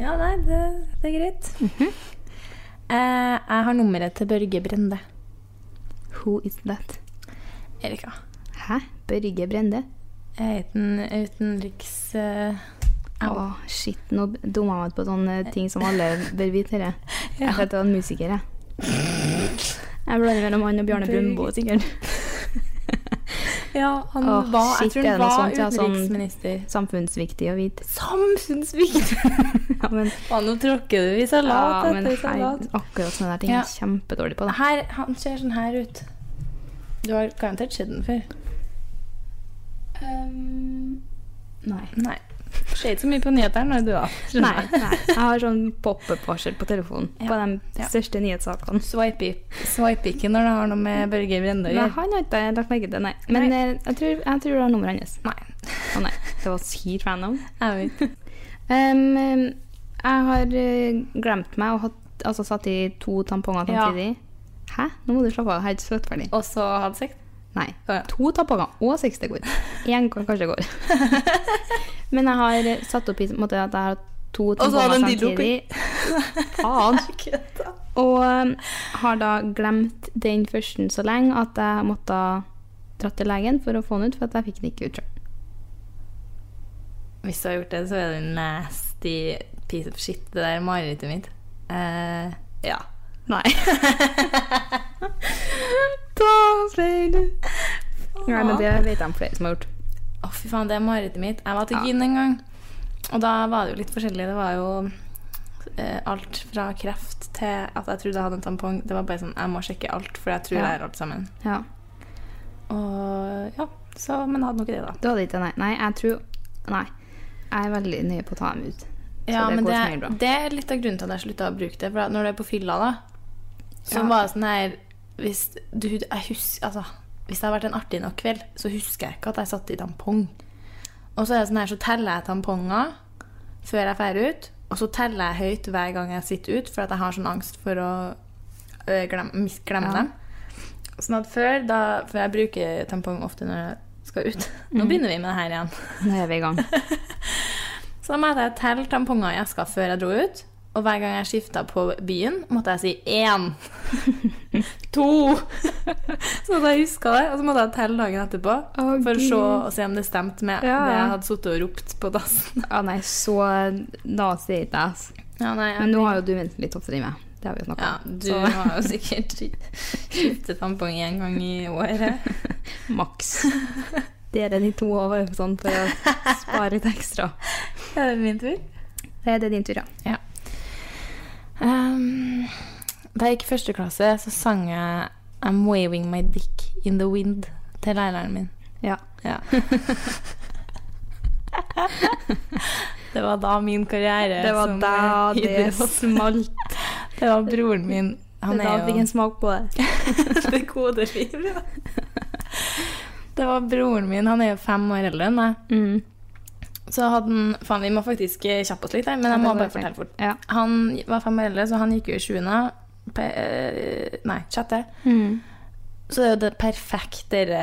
Speaker 3: (laughs) Ja, nei, det, det er greit.
Speaker 1: Mhm.
Speaker 3: (laughs) eh, jeg har nummeret til Børge Brende.
Speaker 1: Who is that?
Speaker 3: Erika.
Speaker 1: Hæ? Børge Brende?
Speaker 3: Jeg heter en utenriks... eh,
Speaker 1: Å, shit, nå dumma jeg meg ut på sånne ting som alle bør vite.
Speaker 3: (laughs)
Speaker 1: dere. Jeg vet det var en musiker, jeg. Jeg blander mellom han og Bjarne
Speaker 3: Børge.
Speaker 1: Brumbo, sikkert.
Speaker 3: ja, han
Speaker 1: Åh,
Speaker 3: var,
Speaker 1: shit,
Speaker 3: jeg tror
Speaker 1: er
Speaker 3: han
Speaker 1: det noe
Speaker 3: var
Speaker 1: sånt, ja, sånn-
Speaker 3: utenriksminister.
Speaker 1: Samfunnsviktig å vite. (laughs)
Speaker 3: Samfunnsviktig!
Speaker 1: Ja, men,
Speaker 3: Å, nå tråkker du i salat
Speaker 1: ja, men
Speaker 3: etter salat.
Speaker 1: her, akkurat sånne der ting
Speaker 3: Ja.
Speaker 1: er jeg kjempedårlig på. Da.
Speaker 3: Her, han ser sånn her ut. Du har garantert sett den før.
Speaker 1: Ehm, Nei.
Speaker 3: Nei. Ser ikke så mye på nyhetene, du da.
Speaker 1: Nei, nei. Jeg har sånn pop-up-varsel på telefonen
Speaker 3: Ja.
Speaker 1: på de
Speaker 3: Ja.
Speaker 1: største nyhetssakene.
Speaker 3: Swipe, swipe ikke når det har noe med Børge Brende å
Speaker 1: Men
Speaker 3: gjøre.
Speaker 1: han har ikke lagt merke til det, nei. Men
Speaker 3: Nei.
Speaker 1: eh, jeg, tror, jeg tror det er nummeret hans.
Speaker 3: Nei.
Speaker 1: Å nei, det var sykt random.
Speaker 3: Jeg vet.
Speaker 1: Em, em, jeg har eh, glemt meg og hatt, altså, satt i to tamponger
Speaker 3: Ja.
Speaker 1: samtidig. Hæ? Nå må du slappe av. Jeg er ikke svett ferdig.
Speaker 3: Og så hadde sex.
Speaker 1: Nei.
Speaker 3: Å, ja.
Speaker 1: To tamponger og seks det går. Én går kanskje går. (laughs) Men jeg har eh, satt opp i på en måte at jeg har hatt to
Speaker 3: så har
Speaker 1: tamponger
Speaker 3: du en dildo oppi.
Speaker 1: samtidig. Faen. Og em, har da glemt den første så lenge at jeg måtte dra til legen for å få den ut, for at jeg fikk den ikke ut sjøl.
Speaker 3: Hvis du har gjort det, så er det en nasty piece of shit. Det der marerittet mitt. Eh, ja.
Speaker 1: Nei. da fløy du. Nei, men det vet jeg om flere som har gjort.
Speaker 3: Å, fy faen, det er marerittet mitt. Jeg var til gyn en gang, og da var det jo litt forskjellig. Det var jo eh, alt fra kreft til at jeg trodde jeg hadde en tampong. Det var bare sånn Jeg må sjekke alt, for jeg tror
Speaker 1: Ja.
Speaker 3: jeg er alt sammen.
Speaker 1: Ja,
Speaker 3: Og ja, så Men jeg hadde nok det, da.
Speaker 1: Du hadde ikke nei. Nei, jeg tror Nei. Jeg er veldig nøye på å ta dem ut. Så
Speaker 3: Ja,
Speaker 1: det
Speaker 3: men
Speaker 1: går
Speaker 3: det,
Speaker 1: som regel bra.
Speaker 3: det er litt av grunnen til at jeg slutta å bruke det. For at når du er på fylla, da, så
Speaker 1: Ja.
Speaker 3: var det sånn her Hvis du jeg husker, Altså, hvis det har vært en artig nok kveld, så husker jeg ikke at jeg satte i tampong. Og så er det sånn her, så teller jeg tamponger før jeg drar ut. Og så teller jeg høyt hver gang jeg sitter ut, for at jeg har sånn angst for å øh, glem, mis- glemme
Speaker 1: Ja.
Speaker 3: dem.
Speaker 1: Sånn at før, da, for jeg bruker tampong ofte når jeg skal ut Nå begynner vi med det her igjen.
Speaker 2: Nå er vi i gang.
Speaker 1: Så da måtte jeg telle tamponger i eska før jeg dro ut. Og hver gang jeg skifta på byen, måtte jeg si én. (laughs) to. (laughs) så da huska jeg det. Og så måtte jeg telle dagen etterpå
Speaker 2: Å,
Speaker 1: for å se
Speaker 2: Gud.
Speaker 1: og se om det stemte med
Speaker 2: Ja,
Speaker 1: det
Speaker 2: ja.
Speaker 1: jeg hadde sittet og ropt på dassen. (laughs)
Speaker 2: Å nei, så nazi er ikke jeg, ass.
Speaker 1: Ja, nei, jeg-
Speaker 2: Men nå har jo du mensen litt oftere enn meg. Det har vi jo snakka
Speaker 1: ja, du (laughs) har jo sikkert skiftet tampong én gang i året.
Speaker 2: (laughs) om. Maks.
Speaker 1: (laughs)
Speaker 2: Dere de to over sånn for å spare litt
Speaker 1: (laughs)
Speaker 2: ekstra.
Speaker 1: Er det min tur?
Speaker 2: Det er det din tur, ja.
Speaker 1: Ja. Ehm, da jeg gikk i første klasse, så sang jeg 'I'm waving my dick in the wind' til læreren min.
Speaker 2: Ja.
Speaker 1: Ja. (laughs) det var da min karriere
Speaker 2: Det var
Speaker 1: som, (laughs)
Speaker 2: da
Speaker 1: eh,
Speaker 2: det
Speaker 1: idol-
Speaker 2: smalt.
Speaker 1: Det var broren min. Han
Speaker 2: det er da
Speaker 1: er
Speaker 2: fikk
Speaker 1: jo
Speaker 2: en smak på det.
Speaker 1: det gode liv, ja. Det var broren min. Han er jo fem år eldre enn meg.
Speaker 2: Mm.
Speaker 1: Så hadde han Faen, vi må faktisk eh, kjappe oss litt her, men jeg må bare fortelle fort.
Speaker 2: Ja.
Speaker 1: Han var fem år eldre, så han gikk jo i sjuende. Pe eh, nei, sjette. Så det er jo det perfektere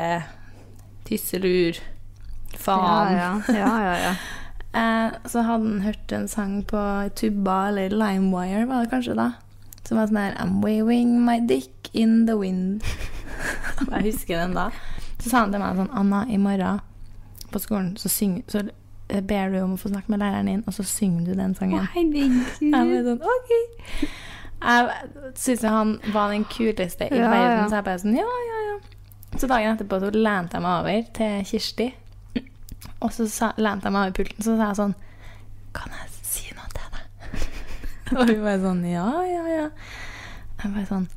Speaker 1: tisselur.
Speaker 2: Ja,
Speaker 1: Faen.
Speaker 2: ja, ja, ja,
Speaker 1: (laughs)
Speaker 2: ja.
Speaker 1: Eh, så hadde han hørt en sang på tuba, eller Limewire var det kanskje da, som var sånn her I'm waving my dick in the wind. (laughs) jeg husker den da. Så sa han til meg sånn Anna, i morgen på skolen så, syng, så eh, ber du om å få snakke med læreren din, og så synger du den sangen. Jeg ble
Speaker 2: herregud.
Speaker 1: sånn, ok. Jeg syntes jo han var den kuleste i
Speaker 2: Ja,
Speaker 1: verden,
Speaker 2: ja.
Speaker 1: så jeg bare sånn, ja, ja, ja. Så dagen etterpå så lente jeg meg over til Kirsti, og så sa, lente jeg meg over pulten, så sa jeg sånn, kan jeg si noe til deg? (laughs) og hun var sånn, ja, ja, ja. Jeg bare sånn,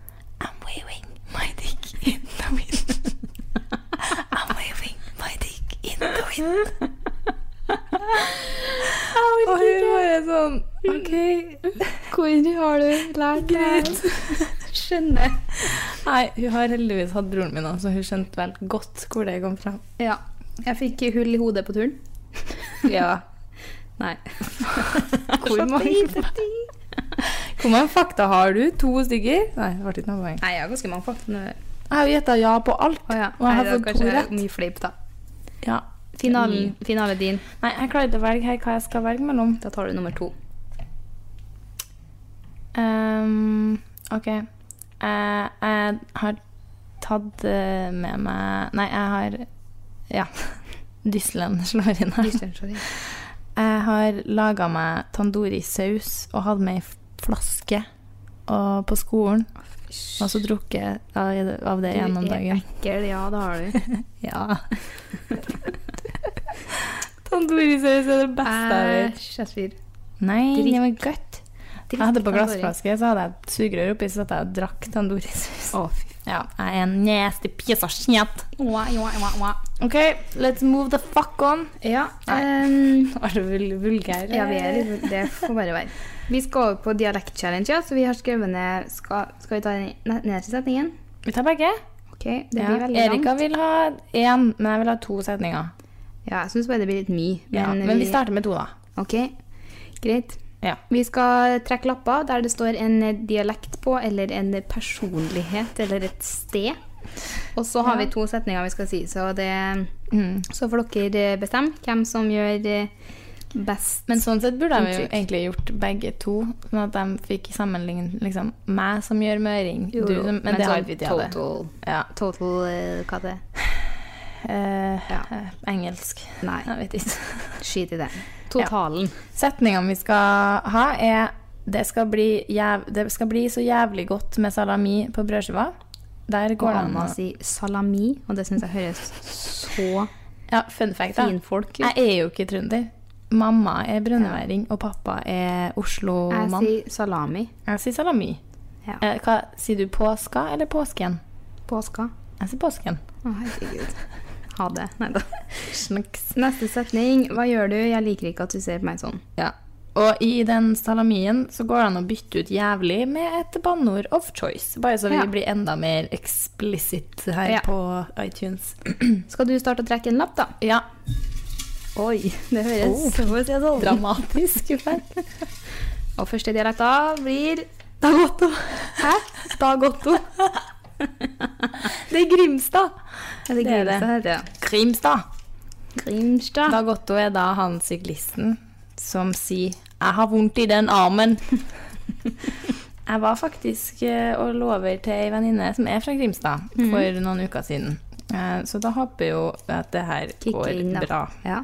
Speaker 1: I'm waving my dick in the wind. (laughs) I'm waving my dick in the wind. (laughs) Og hun bare sånn, ok,
Speaker 2: Hvor har du lært det?
Speaker 1: (laughs)
Speaker 2: Skjønner.
Speaker 1: Nei, hun har heldigvis hatt broren min, så hun skjønte vel godt hvor det kom fra.
Speaker 2: Ja. Jeg fikk hull i hodet på turen.
Speaker 1: (laughs) Ja.
Speaker 2: Nei.
Speaker 1: (laughs) Hvor mange, hvor mange fakta har du? To stykker? Nei, det ble ikke noe poeng.
Speaker 2: Nei, jeg har ganske mange fakta. nå.
Speaker 1: Jeg har jo gjetta ja på alt,
Speaker 2: Å ja.
Speaker 1: og jeg har
Speaker 2: Nei,
Speaker 1: fått
Speaker 2: det var
Speaker 1: to
Speaker 2: kanskje
Speaker 1: rett. Mm.
Speaker 2: Mye fleip, da.
Speaker 1: Ja.
Speaker 2: Finalen, finale din.
Speaker 1: Nei, jeg klarer ikke å velge her hva jeg skal velge mellom.
Speaker 2: Da tar du nummer
Speaker 1: (laughs)
Speaker 2: to.
Speaker 1: Ehm, OK. Eh, jeg har tatt eh, med meg Nei, jeg har Ja. (laughs) Dysselen slår inn her. Jeg har laga meg tandoori-saus og hatt med ei flaske og på skolen. Og så drukket av av det gjennom dagen.
Speaker 2: ekkel, ja, det har
Speaker 1: (laughs)
Speaker 2: du.
Speaker 1: Ja. Tandoori-saus er det beste jeg vet.
Speaker 2: Æsj, jeg svir.
Speaker 1: Eh, Nei,
Speaker 2: Dritt.
Speaker 1: det var godt. Jeg hadde på glassflaske, så hadde jeg et sugerør oppi, så satt jeg og drakk tandoori-saus.
Speaker 2: Å, fy.
Speaker 1: Ja, jeg er en nasty piece of shit.
Speaker 2: Wa, wa, wa, wa.
Speaker 1: OK, let's move the fuck on.
Speaker 2: Ja,
Speaker 1: Nei.
Speaker 2: ehm,
Speaker 1: (laughs) Var du vul- vulgær?
Speaker 2: ja, vi er litt Det får bare være. Vi skal over på dialektchallenge, ja, så vi har skrevet ned Skal, skal vi ta den ne- nederste setningen?
Speaker 1: Vi tar begge.
Speaker 2: OK, det
Speaker 1: Ja.
Speaker 2: blir veldig
Speaker 1: Erika
Speaker 2: langt.
Speaker 1: vil ha én, men jeg vil ha to setninger.
Speaker 2: Ja, jeg syns bare det blir litt mye.
Speaker 1: Ja, men, vi starter med to, da.
Speaker 2: OK, greit.
Speaker 1: Ja.
Speaker 2: Vi skal trekke lapper der det står en dialekt på, eller en personlighet, eller et sted. Og så har vi to setninger vi skal si, så, det,
Speaker 1: Mm.
Speaker 2: så får dere bestemme hvem som gjør eh, best.
Speaker 1: Men sånn sett burde vi jo
Speaker 2: Inntrykk.
Speaker 1: egentlig gjort begge to, sånn at de fikk sammenligne liksom, meg som gjør møring,
Speaker 2: Jo,
Speaker 1: du
Speaker 2: jo,
Speaker 1: som Men det
Speaker 2: sånn
Speaker 1: har vi ikke hatt.
Speaker 2: Total,
Speaker 1: Ja.
Speaker 2: total eh, hva det er?
Speaker 1: Eh,
Speaker 2: Ja.
Speaker 1: eh, engelsk.
Speaker 2: Nei,
Speaker 1: Jeg vet ikke. (laughs)
Speaker 2: skit i det. Totalen.
Speaker 1: Setningene vi skal ha, er det skal, bli jæv det skal bli så jævlig godt med salami på brødskiva. Der
Speaker 2: Og
Speaker 1: går det an
Speaker 2: Anna
Speaker 1: å
Speaker 2: sier salami, og det syns jeg høres så
Speaker 1: Ja, fun fact, da.
Speaker 2: finfolk
Speaker 1: Jeg
Speaker 2: ut.
Speaker 1: er jo ikke trønder. Mamma er brønnøværing, og pappa er
Speaker 2: Jeg
Speaker 1: Oslo-mann.
Speaker 2: sier salami.
Speaker 1: Jeg sier salami.
Speaker 2: Ja.
Speaker 1: Eh, hva, sier du påska eller påsken?
Speaker 2: Påska.
Speaker 1: Jeg sier påsken.
Speaker 2: Å, herregud. Ha det. Nei da.
Speaker 1: Snacks.
Speaker 2: Neste setning. Hva gjør du? Jeg liker ikke at du ser på meg sånn.
Speaker 1: Ja. Og i den salamien så går det an å bytte ut jævlig med et banneord of choice. Bare så vi
Speaker 2: Ja.
Speaker 1: blir enda mer explicit her
Speaker 2: Ja.
Speaker 1: på iTunes.
Speaker 2: Skal du starte å trekke en lapp, da?
Speaker 1: Ja,
Speaker 2: Oi, det høres
Speaker 1: Oh.
Speaker 2: så får vi si det sånn. (laughs)
Speaker 1: dramatisk. vel?
Speaker 2: Og (laughs) første dialekta blir Dagotto. Hæ? Dagotto.
Speaker 1: Det er Grimstad.
Speaker 2: Er det
Speaker 1: er det.
Speaker 2: Grimstad heter det?
Speaker 1: Grimstad.
Speaker 2: Grimstad.
Speaker 1: Dag Otto er da han syklisten som sier 'Jeg har vondt i den
Speaker 2: (laughs)
Speaker 1: armen'. jeg var faktisk eh, og lå over til ei venninne som er fra Grimstad,
Speaker 2: Mhm.
Speaker 1: for noen uker siden. Eh, Så da håper jeg jo at det her
Speaker 2: Kicker
Speaker 1: går
Speaker 2: inn, da.
Speaker 1: bra.
Speaker 2: Ja.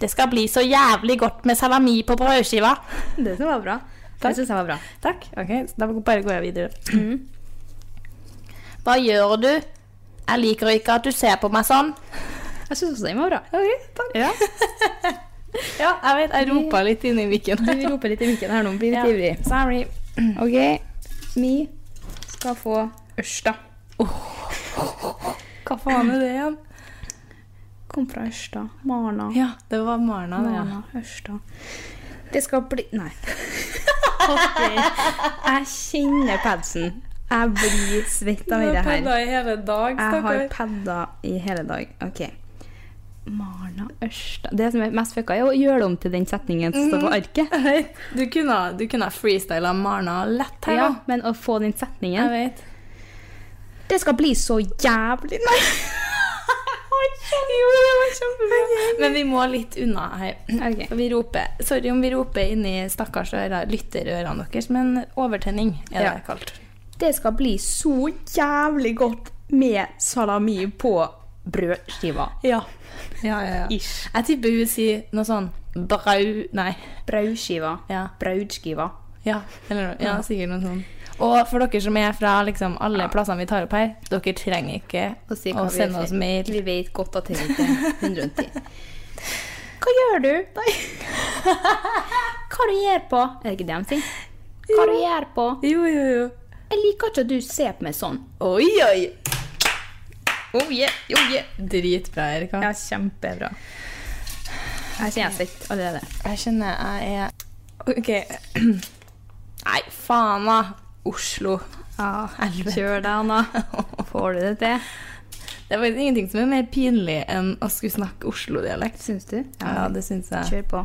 Speaker 1: Det skal bli så jævlig godt med salami på brødskiva.
Speaker 2: Det som var bra.
Speaker 1: Takk.
Speaker 2: Det syns jeg var bra.
Speaker 1: Takk. Ok, så da bare går jeg videre. Mm. Hva gjør du? Jeg liker ikke at du ser på meg sånn.
Speaker 2: Jeg syns også den var bra.
Speaker 1: (laughs) Ja. ja, jeg vet. Jeg ropa litt inni mikken.
Speaker 2: Du roper litt i mikken her nå, blir litt
Speaker 1: Ja,
Speaker 2: ivrig.
Speaker 1: Sorry.
Speaker 2: OK, mi skal få Ørsta.
Speaker 1: Hva faen er det igjen?
Speaker 2: Kom fra Ørsta. Marna.
Speaker 1: Ja, det var Marna, det. Ja.
Speaker 2: Marna, Ørsta. Det skal bli
Speaker 1: (laughs)
Speaker 2: Nei. Ok. Jeg kjenner padsen. Jeg blir svett av det
Speaker 1: i
Speaker 2: her.
Speaker 1: hele dag,
Speaker 2: Jeg har padda i hele dag. OK. Marna Ørsta Det som er mest fucka, er å gjøre det om til den setningen som
Speaker 1: Mm.
Speaker 2: står på arket.
Speaker 1: (laughs) Du kunne, du kunne ha freestyla Marna lett her,
Speaker 2: Ja,
Speaker 1: da.
Speaker 2: men å få den
Speaker 1: Jeg
Speaker 2: setningen
Speaker 1: (laughs) vet.
Speaker 2: Det skal bli så jævlig Nei!
Speaker 1: (laughs) Jo, det var kjempebra. Men vi må litt unna her.
Speaker 2: Ok.
Speaker 1: For Vi roper, sorry om vi roper inni stakkars øra, lytterørene deres, men overtenning er det
Speaker 2: Ja.
Speaker 1: kalt.
Speaker 2: Det skal bli så jævlig godt med salami på brødskiva.
Speaker 1: Ja. ja, ja, ja.
Speaker 2: Ish.
Speaker 1: Jeg tipper hun sier noe sånn brau... Nei.
Speaker 2: Brødskiva.
Speaker 1: Ja.
Speaker 2: Brødskiva.
Speaker 1: Ja, eller noe. ja, sikkert noe sånn. Og for dere som er fra liksom, alle plassene vi tar opp her, dere trenger ikke å, sende oss mail.
Speaker 2: Vi vet godt at det ikke er 110. Hva gjør du? Nei. (laughs) Hva du gjør på? Er det ikke det de sier? Hva du gjør på?
Speaker 1: Jo, jo, jo.
Speaker 2: Jeg liker ikke at du ser på meg sånn.
Speaker 1: Oi, oi! Oh yeah, oh yeah. Dritbra, Erika.
Speaker 2: kjempebra. Jeg kjenner sitt allerede.
Speaker 1: Jeg kjenner jeg er OK. (clears throat) Nei, faen, da. Oslo.
Speaker 2: Ja,
Speaker 1: helvete.
Speaker 2: Kjør deg, Anna. Får du det til?
Speaker 1: Det er faktisk ingenting som er mer pinlig enn å skulle snakke Oslo-dialekt.
Speaker 2: Syns du?
Speaker 1: Ja, det syns jeg.
Speaker 2: Kjør på.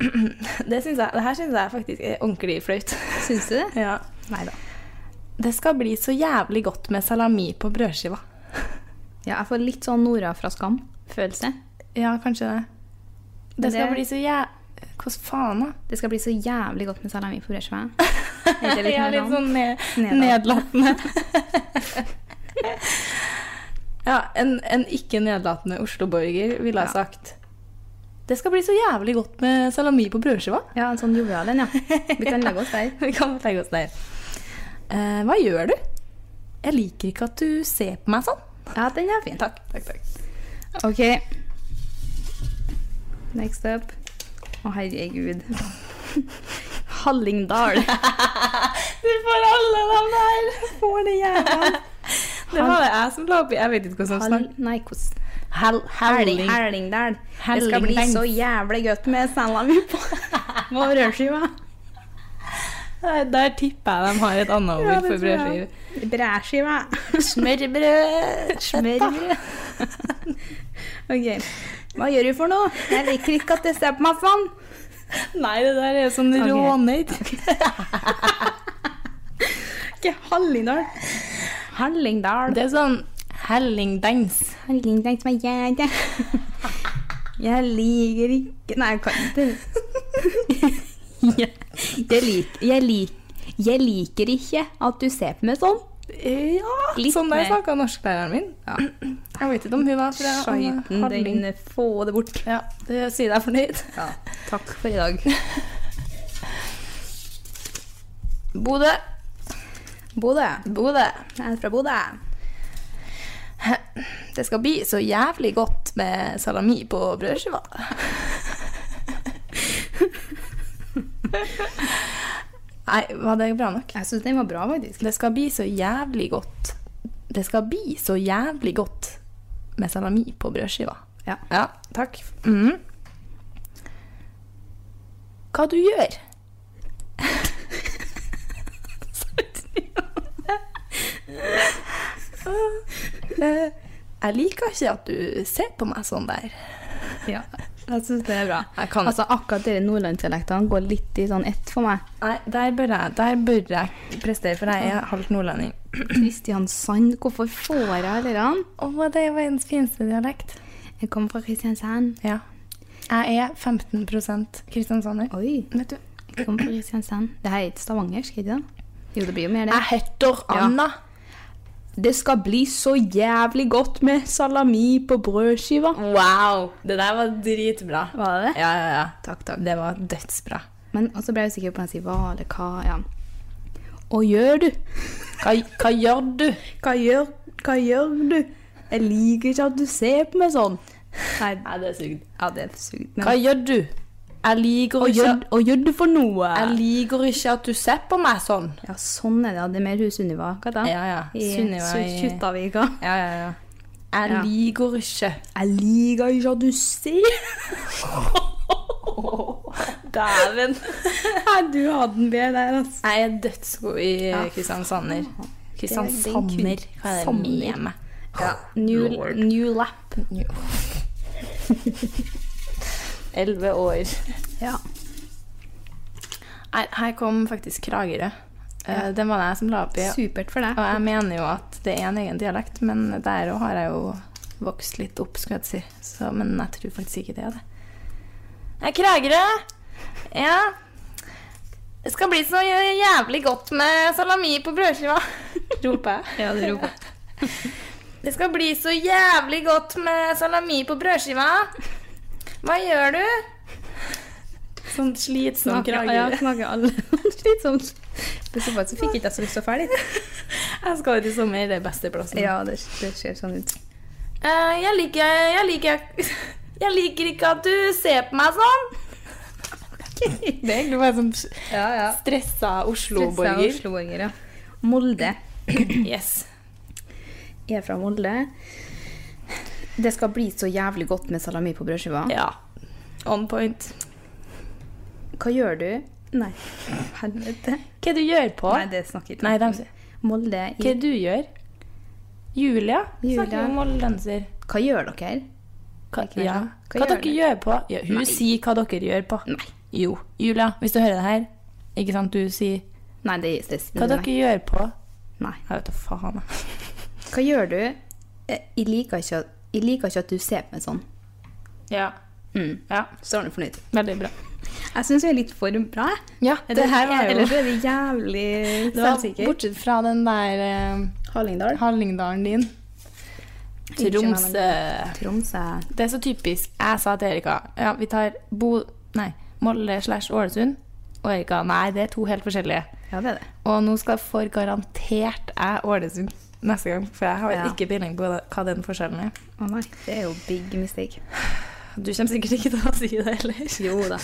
Speaker 1: Det, syns jeg, det her syns jeg faktisk er ordentlig (laughs) flaut.
Speaker 2: Syns du det?
Speaker 1: ja.
Speaker 2: Nei da.
Speaker 1: Det skal bli så jævlig godt med salami på brødskiva.
Speaker 2: Ja, jeg får litt sånn Nora fra Skam-følelse.
Speaker 1: Ja, kanskje det. Det skal
Speaker 2: Det-
Speaker 1: bli så jæ... Hvordan faen, (laughs) da?
Speaker 2: Det skal bli så jævlig godt med salami på brødskiva.
Speaker 1: (laughs)
Speaker 2: Er det litt
Speaker 1: Jeg er
Speaker 2: mer
Speaker 1: litt
Speaker 2: sånn?
Speaker 1: sånn ned,
Speaker 2: Nedlatende.
Speaker 1: nedlatende. (laughs) ja, en, en ikke nedlatende Oslo-borger ville ha
Speaker 2: Ja.
Speaker 1: sagt Det skal bli så jævlig godt med salami på (laughs) brødskiva.
Speaker 2: Ja, en sånn jovial en, ja. Vi kan legge oss der.
Speaker 1: (laughs) Vi kan legge oss der. Eh, hva gjør du? Jeg liker ikke at du ser på meg sånn.
Speaker 2: Ja, den er fin.
Speaker 1: Takk. takk, takk.
Speaker 2: Ok. Next up. Å,
Speaker 1: (laughs)
Speaker 2: herregud. Hallingdal.
Speaker 1: Du får alle dem der! Får det jævla. Det var det jeg som la opp i. Jeg vet ikke hvordan
Speaker 2: Hall... Nei, hvordan?
Speaker 1: Hal
Speaker 2: Herling- Hallingdal. Det skal bli
Speaker 1: Hallingdal.
Speaker 2: så jævlig godt med salami
Speaker 1: (laughs)
Speaker 2: på på brødskiva.
Speaker 1: Der, der tipper jeg de har et annet ord for brødskive. (laughs)
Speaker 2: Bræskiva.
Speaker 1: Smørbrød.
Speaker 2: Smørbrød. (laughs) Ok. Hva gjør du for noe? Jeg liker ikke at det ser på meg sånn.
Speaker 1: Nei, det der er sånn
Speaker 2: Ok.
Speaker 1: råner. (laughs)
Speaker 2: Ikke Hallingdal. Hallingdal.
Speaker 1: Det er sånn hellingdans.
Speaker 2: Han ligner ikke meg (laughs) jeg Jeg liker ikke Nei, jeg kan (laughs) ikke. Jeg, jeg, lik, jeg, lik, jeg liker ikke at du ser på meg sånn.
Speaker 1: Ja,
Speaker 2: Litt
Speaker 1: sånn der
Speaker 2: mer.
Speaker 1: snakka norsklæreren min. Jeg vet ikke om hun var fra
Speaker 2: Skiten,
Speaker 1: Halling.
Speaker 2: den få det bort.
Speaker 1: Ja, det sier deg fornøyd.
Speaker 2: Takk for i dag.
Speaker 1: (laughs) Bodø.
Speaker 2: Bodø.
Speaker 1: Bodø.
Speaker 2: Jeg er fra Bodø.
Speaker 1: Det skal bli så jævlig godt med salami på
Speaker 2: (laughs)
Speaker 1: brødskiva. Nei, var det bra nok?
Speaker 2: Jeg syns den var bra, faktisk.
Speaker 1: Det skal bli så jævlig godt Det skal bli så jævlig godt med salami på brødskiva.
Speaker 2: Ja.
Speaker 1: Ja, takk. Mhm. Hva du gjør? Eh, Jeg liker ikke at du ser på meg sånn der.
Speaker 2: Ja. Jeg syns det er bra.
Speaker 1: Jeg kan-
Speaker 2: Altså, akkurat dere nordlandsdialektene går litt i sånn ett for meg.
Speaker 1: Nei, der bør jeg, der bør jeg prestere, for jeg er halvt nordlending.
Speaker 2: Mhm. Kristiansand, hvorfor får jeg alle dem?
Speaker 1: Å, det er verdens fineste dialekt.
Speaker 2: Jeg kommer fra Kristiansand.
Speaker 1: Ja. Jeg er 15 kristiansander.
Speaker 2: Oi,
Speaker 1: Vet du,
Speaker 2: jeg kommer fra Kristiansand. Det her er ikke stavangersk, ikke det? Jo, det blir jo mer det.
Speaker 1: jeg heter Anna.
Speaker 2: Det skal bli så jævlig godt med salami på brødskiva.
Speaker 1: Wow! Det der var dritbra.
Speaker 2: Var det det?
Speaker 1: Ja, ja, ja.
Speaker 2: Takk, takk.
Speaker 1: Det var dødsbra.
Speaker 2: Men også ble jeg usikker på om jeg sier hva eller hva. Ja. Og gjør du?
Speaker 1: Hva, hva gjør du?
Speaker 2: Hva gjør, hva gjør du? Jeg liker ikke at du ser på meg sånn. Nei,
Speaker 1: Nei, det er sugd.
Speaker 2: ja, det er sugd. men-
Speaker 1: Hva gjør du? Jeg liker
Speaker 2: Og
Speaker 1: ikke,
Speaker 2: gjør, og gjør du for noe?
Speaker 1: jeg liker ikke at du ser på meg sånn.
Speaker 2: Ja, sånn er det. ja. Det er mer hun Sunniva. Hva da?
Speaker 1: Ja, ja.
Speaker 2: I
Speaker 1: Sunniva
Speaker 2: Su-
Speaker 1: i-
Speaker 2: Kjuttaviga.
Speaker 1: Ja, ja, ja. Jeg
Speaker 2: Ja.
Speaker 1: liker ikke.
Speaker 2: Jeg liker ikke at du ser.
Speaker 1: (laughs) Dæven.
Speaker 2: Nei, du hadde den bedre der, altså.
Speaker 1: Jeg er dødsgod i Kristiansander. Kristiansander. Hva er det
Speaker 2: Sander.
Speaker 1: med meg?
Speaker 2: New, new lap.
Speaker 1: (laughs) Elleve år.
Speaker 2: Ja.
Speaker 1: Her, her kom faktisk Kragerø. Eh, Den var det jeg som la opp i.
Speaker 2: Supert for deg.
Speaker 1: Og jeg mener jo at det er en egen dialekt, men der òg har jeg jo vokst litt opp, skulle jeg si. Så, men jeg tror faktisk ikke det er det. Jeg er Kragerø! Ja. Det skal bli så jævlig godt med salami på brødskiva, (laughs) roper jeg.
Speaker 2: Ja, det roper.
Speaker 1: (laughs) Det skal bli så jævlig godt med salami på brødskiva. Hva gjør du? Sånn slitsom
Speaker 2: Snakker, ja, snakker alle (laughs) slitsomt. Men så faktisk fikk ikke jeg så lyst til å ferdig.
Speaker 1: (laughs) Jeg skal ut i sommer, det er beste plassen.
Speaker 2: Ja, det, det ser sånn ut.
Speaker 1: Eh, jeg liker jeg liker, (laughs) jeg liker ikke at du ser på meg sånn. (laughs) Det er egentlig bare sånn
Speaker 2: Ja, ja.
Speaker 1: stressa
Speaker 2: Stressa Osloborger, ja. Molde.
Speaker 1: Yes.
Speaker 2: Jeg er fra Molde. Det skal bli så jævlig godt med salami på brødskiva.
Speaker 1: Ja. On point.
Speaker 2: Hva gjør du? Nei, helvete.
Speaker 1: Hva du gjør på?
Speaker 2: Nei, det snakker ikke
Speaker 1: Nei, de sier
Speaker 2: Molde
Speaker 1: Hva
Speaker 2: i
Speaker 1: du gjør? Julia,
Speaker 2: Julia.
Speaker 1: snakker om moldenser.
Speaker 2: Hva gjør dere?
Speaker 1: Hva,
Speaker 2: Ikke
Speaker 1: ja.
Speaker 2: sant? Hva
Speaker 1: hva
Speaker 2: gjør
Speaker 1: dere gjør på? Ja, hun sier hva dere gjør på.
Speaker 2: Nei.
Speaker 1: Jo. Julia, hvis du hører det her, ikke sant, du sier
Speaker 2: Nei, det er stress.
Speaker 1: Hva dere gjør på?
Speaker 2: Nei.
Speaker 1: Jeg vet da faen. jeg.
Speaker 2: Hva gjør du? Eh, Jeg liker ikke, at- jeg liker ikke at du ser på meg sånn.
Speaker 1: Ja.
Speaker 2: Mm.
Speaker 1: ja.
Speaker 2: Så er du fornøyd.
Speaker 1: Veldig bra.
Speaker 2: Jeg syns vi er litt for bra. jeg.
Speaker 1: Ja,
Speaker 2: Eller- Eller så er vi (laughs) jævlig
Speaker 1: Det var
Speaker 2: selvsikre.
Speaker 1: bortsett fra den der eh,
Speaker 2: Hallingdal.
Speaker 1: Hallingdalen din.
Speaker 2: Ikke
Speaker 1: Tromsø.
Speaker 2: Tromsø.
Speaker 1: eh, Det er så typisk. Jeg sa til Erika ja, vi tar Bo... Nei, Molde slash Ålesund. Og Erika nei, det er to helt forskjellige.
Speaker 2: Ja, det er det.
Speaker 1: Og nå skal for garantert jeg Ålesund neste gang, for jeg har
Speaker 2: Ja.
Speaker 1: ikke peiling på hva den forskjellen er.
Speaker 2: Å nei, det er jo big (laughs) mistake.
Speaker 1: Du kommer sikkert ikke til å si det heller.
Speaker 2: Jo da.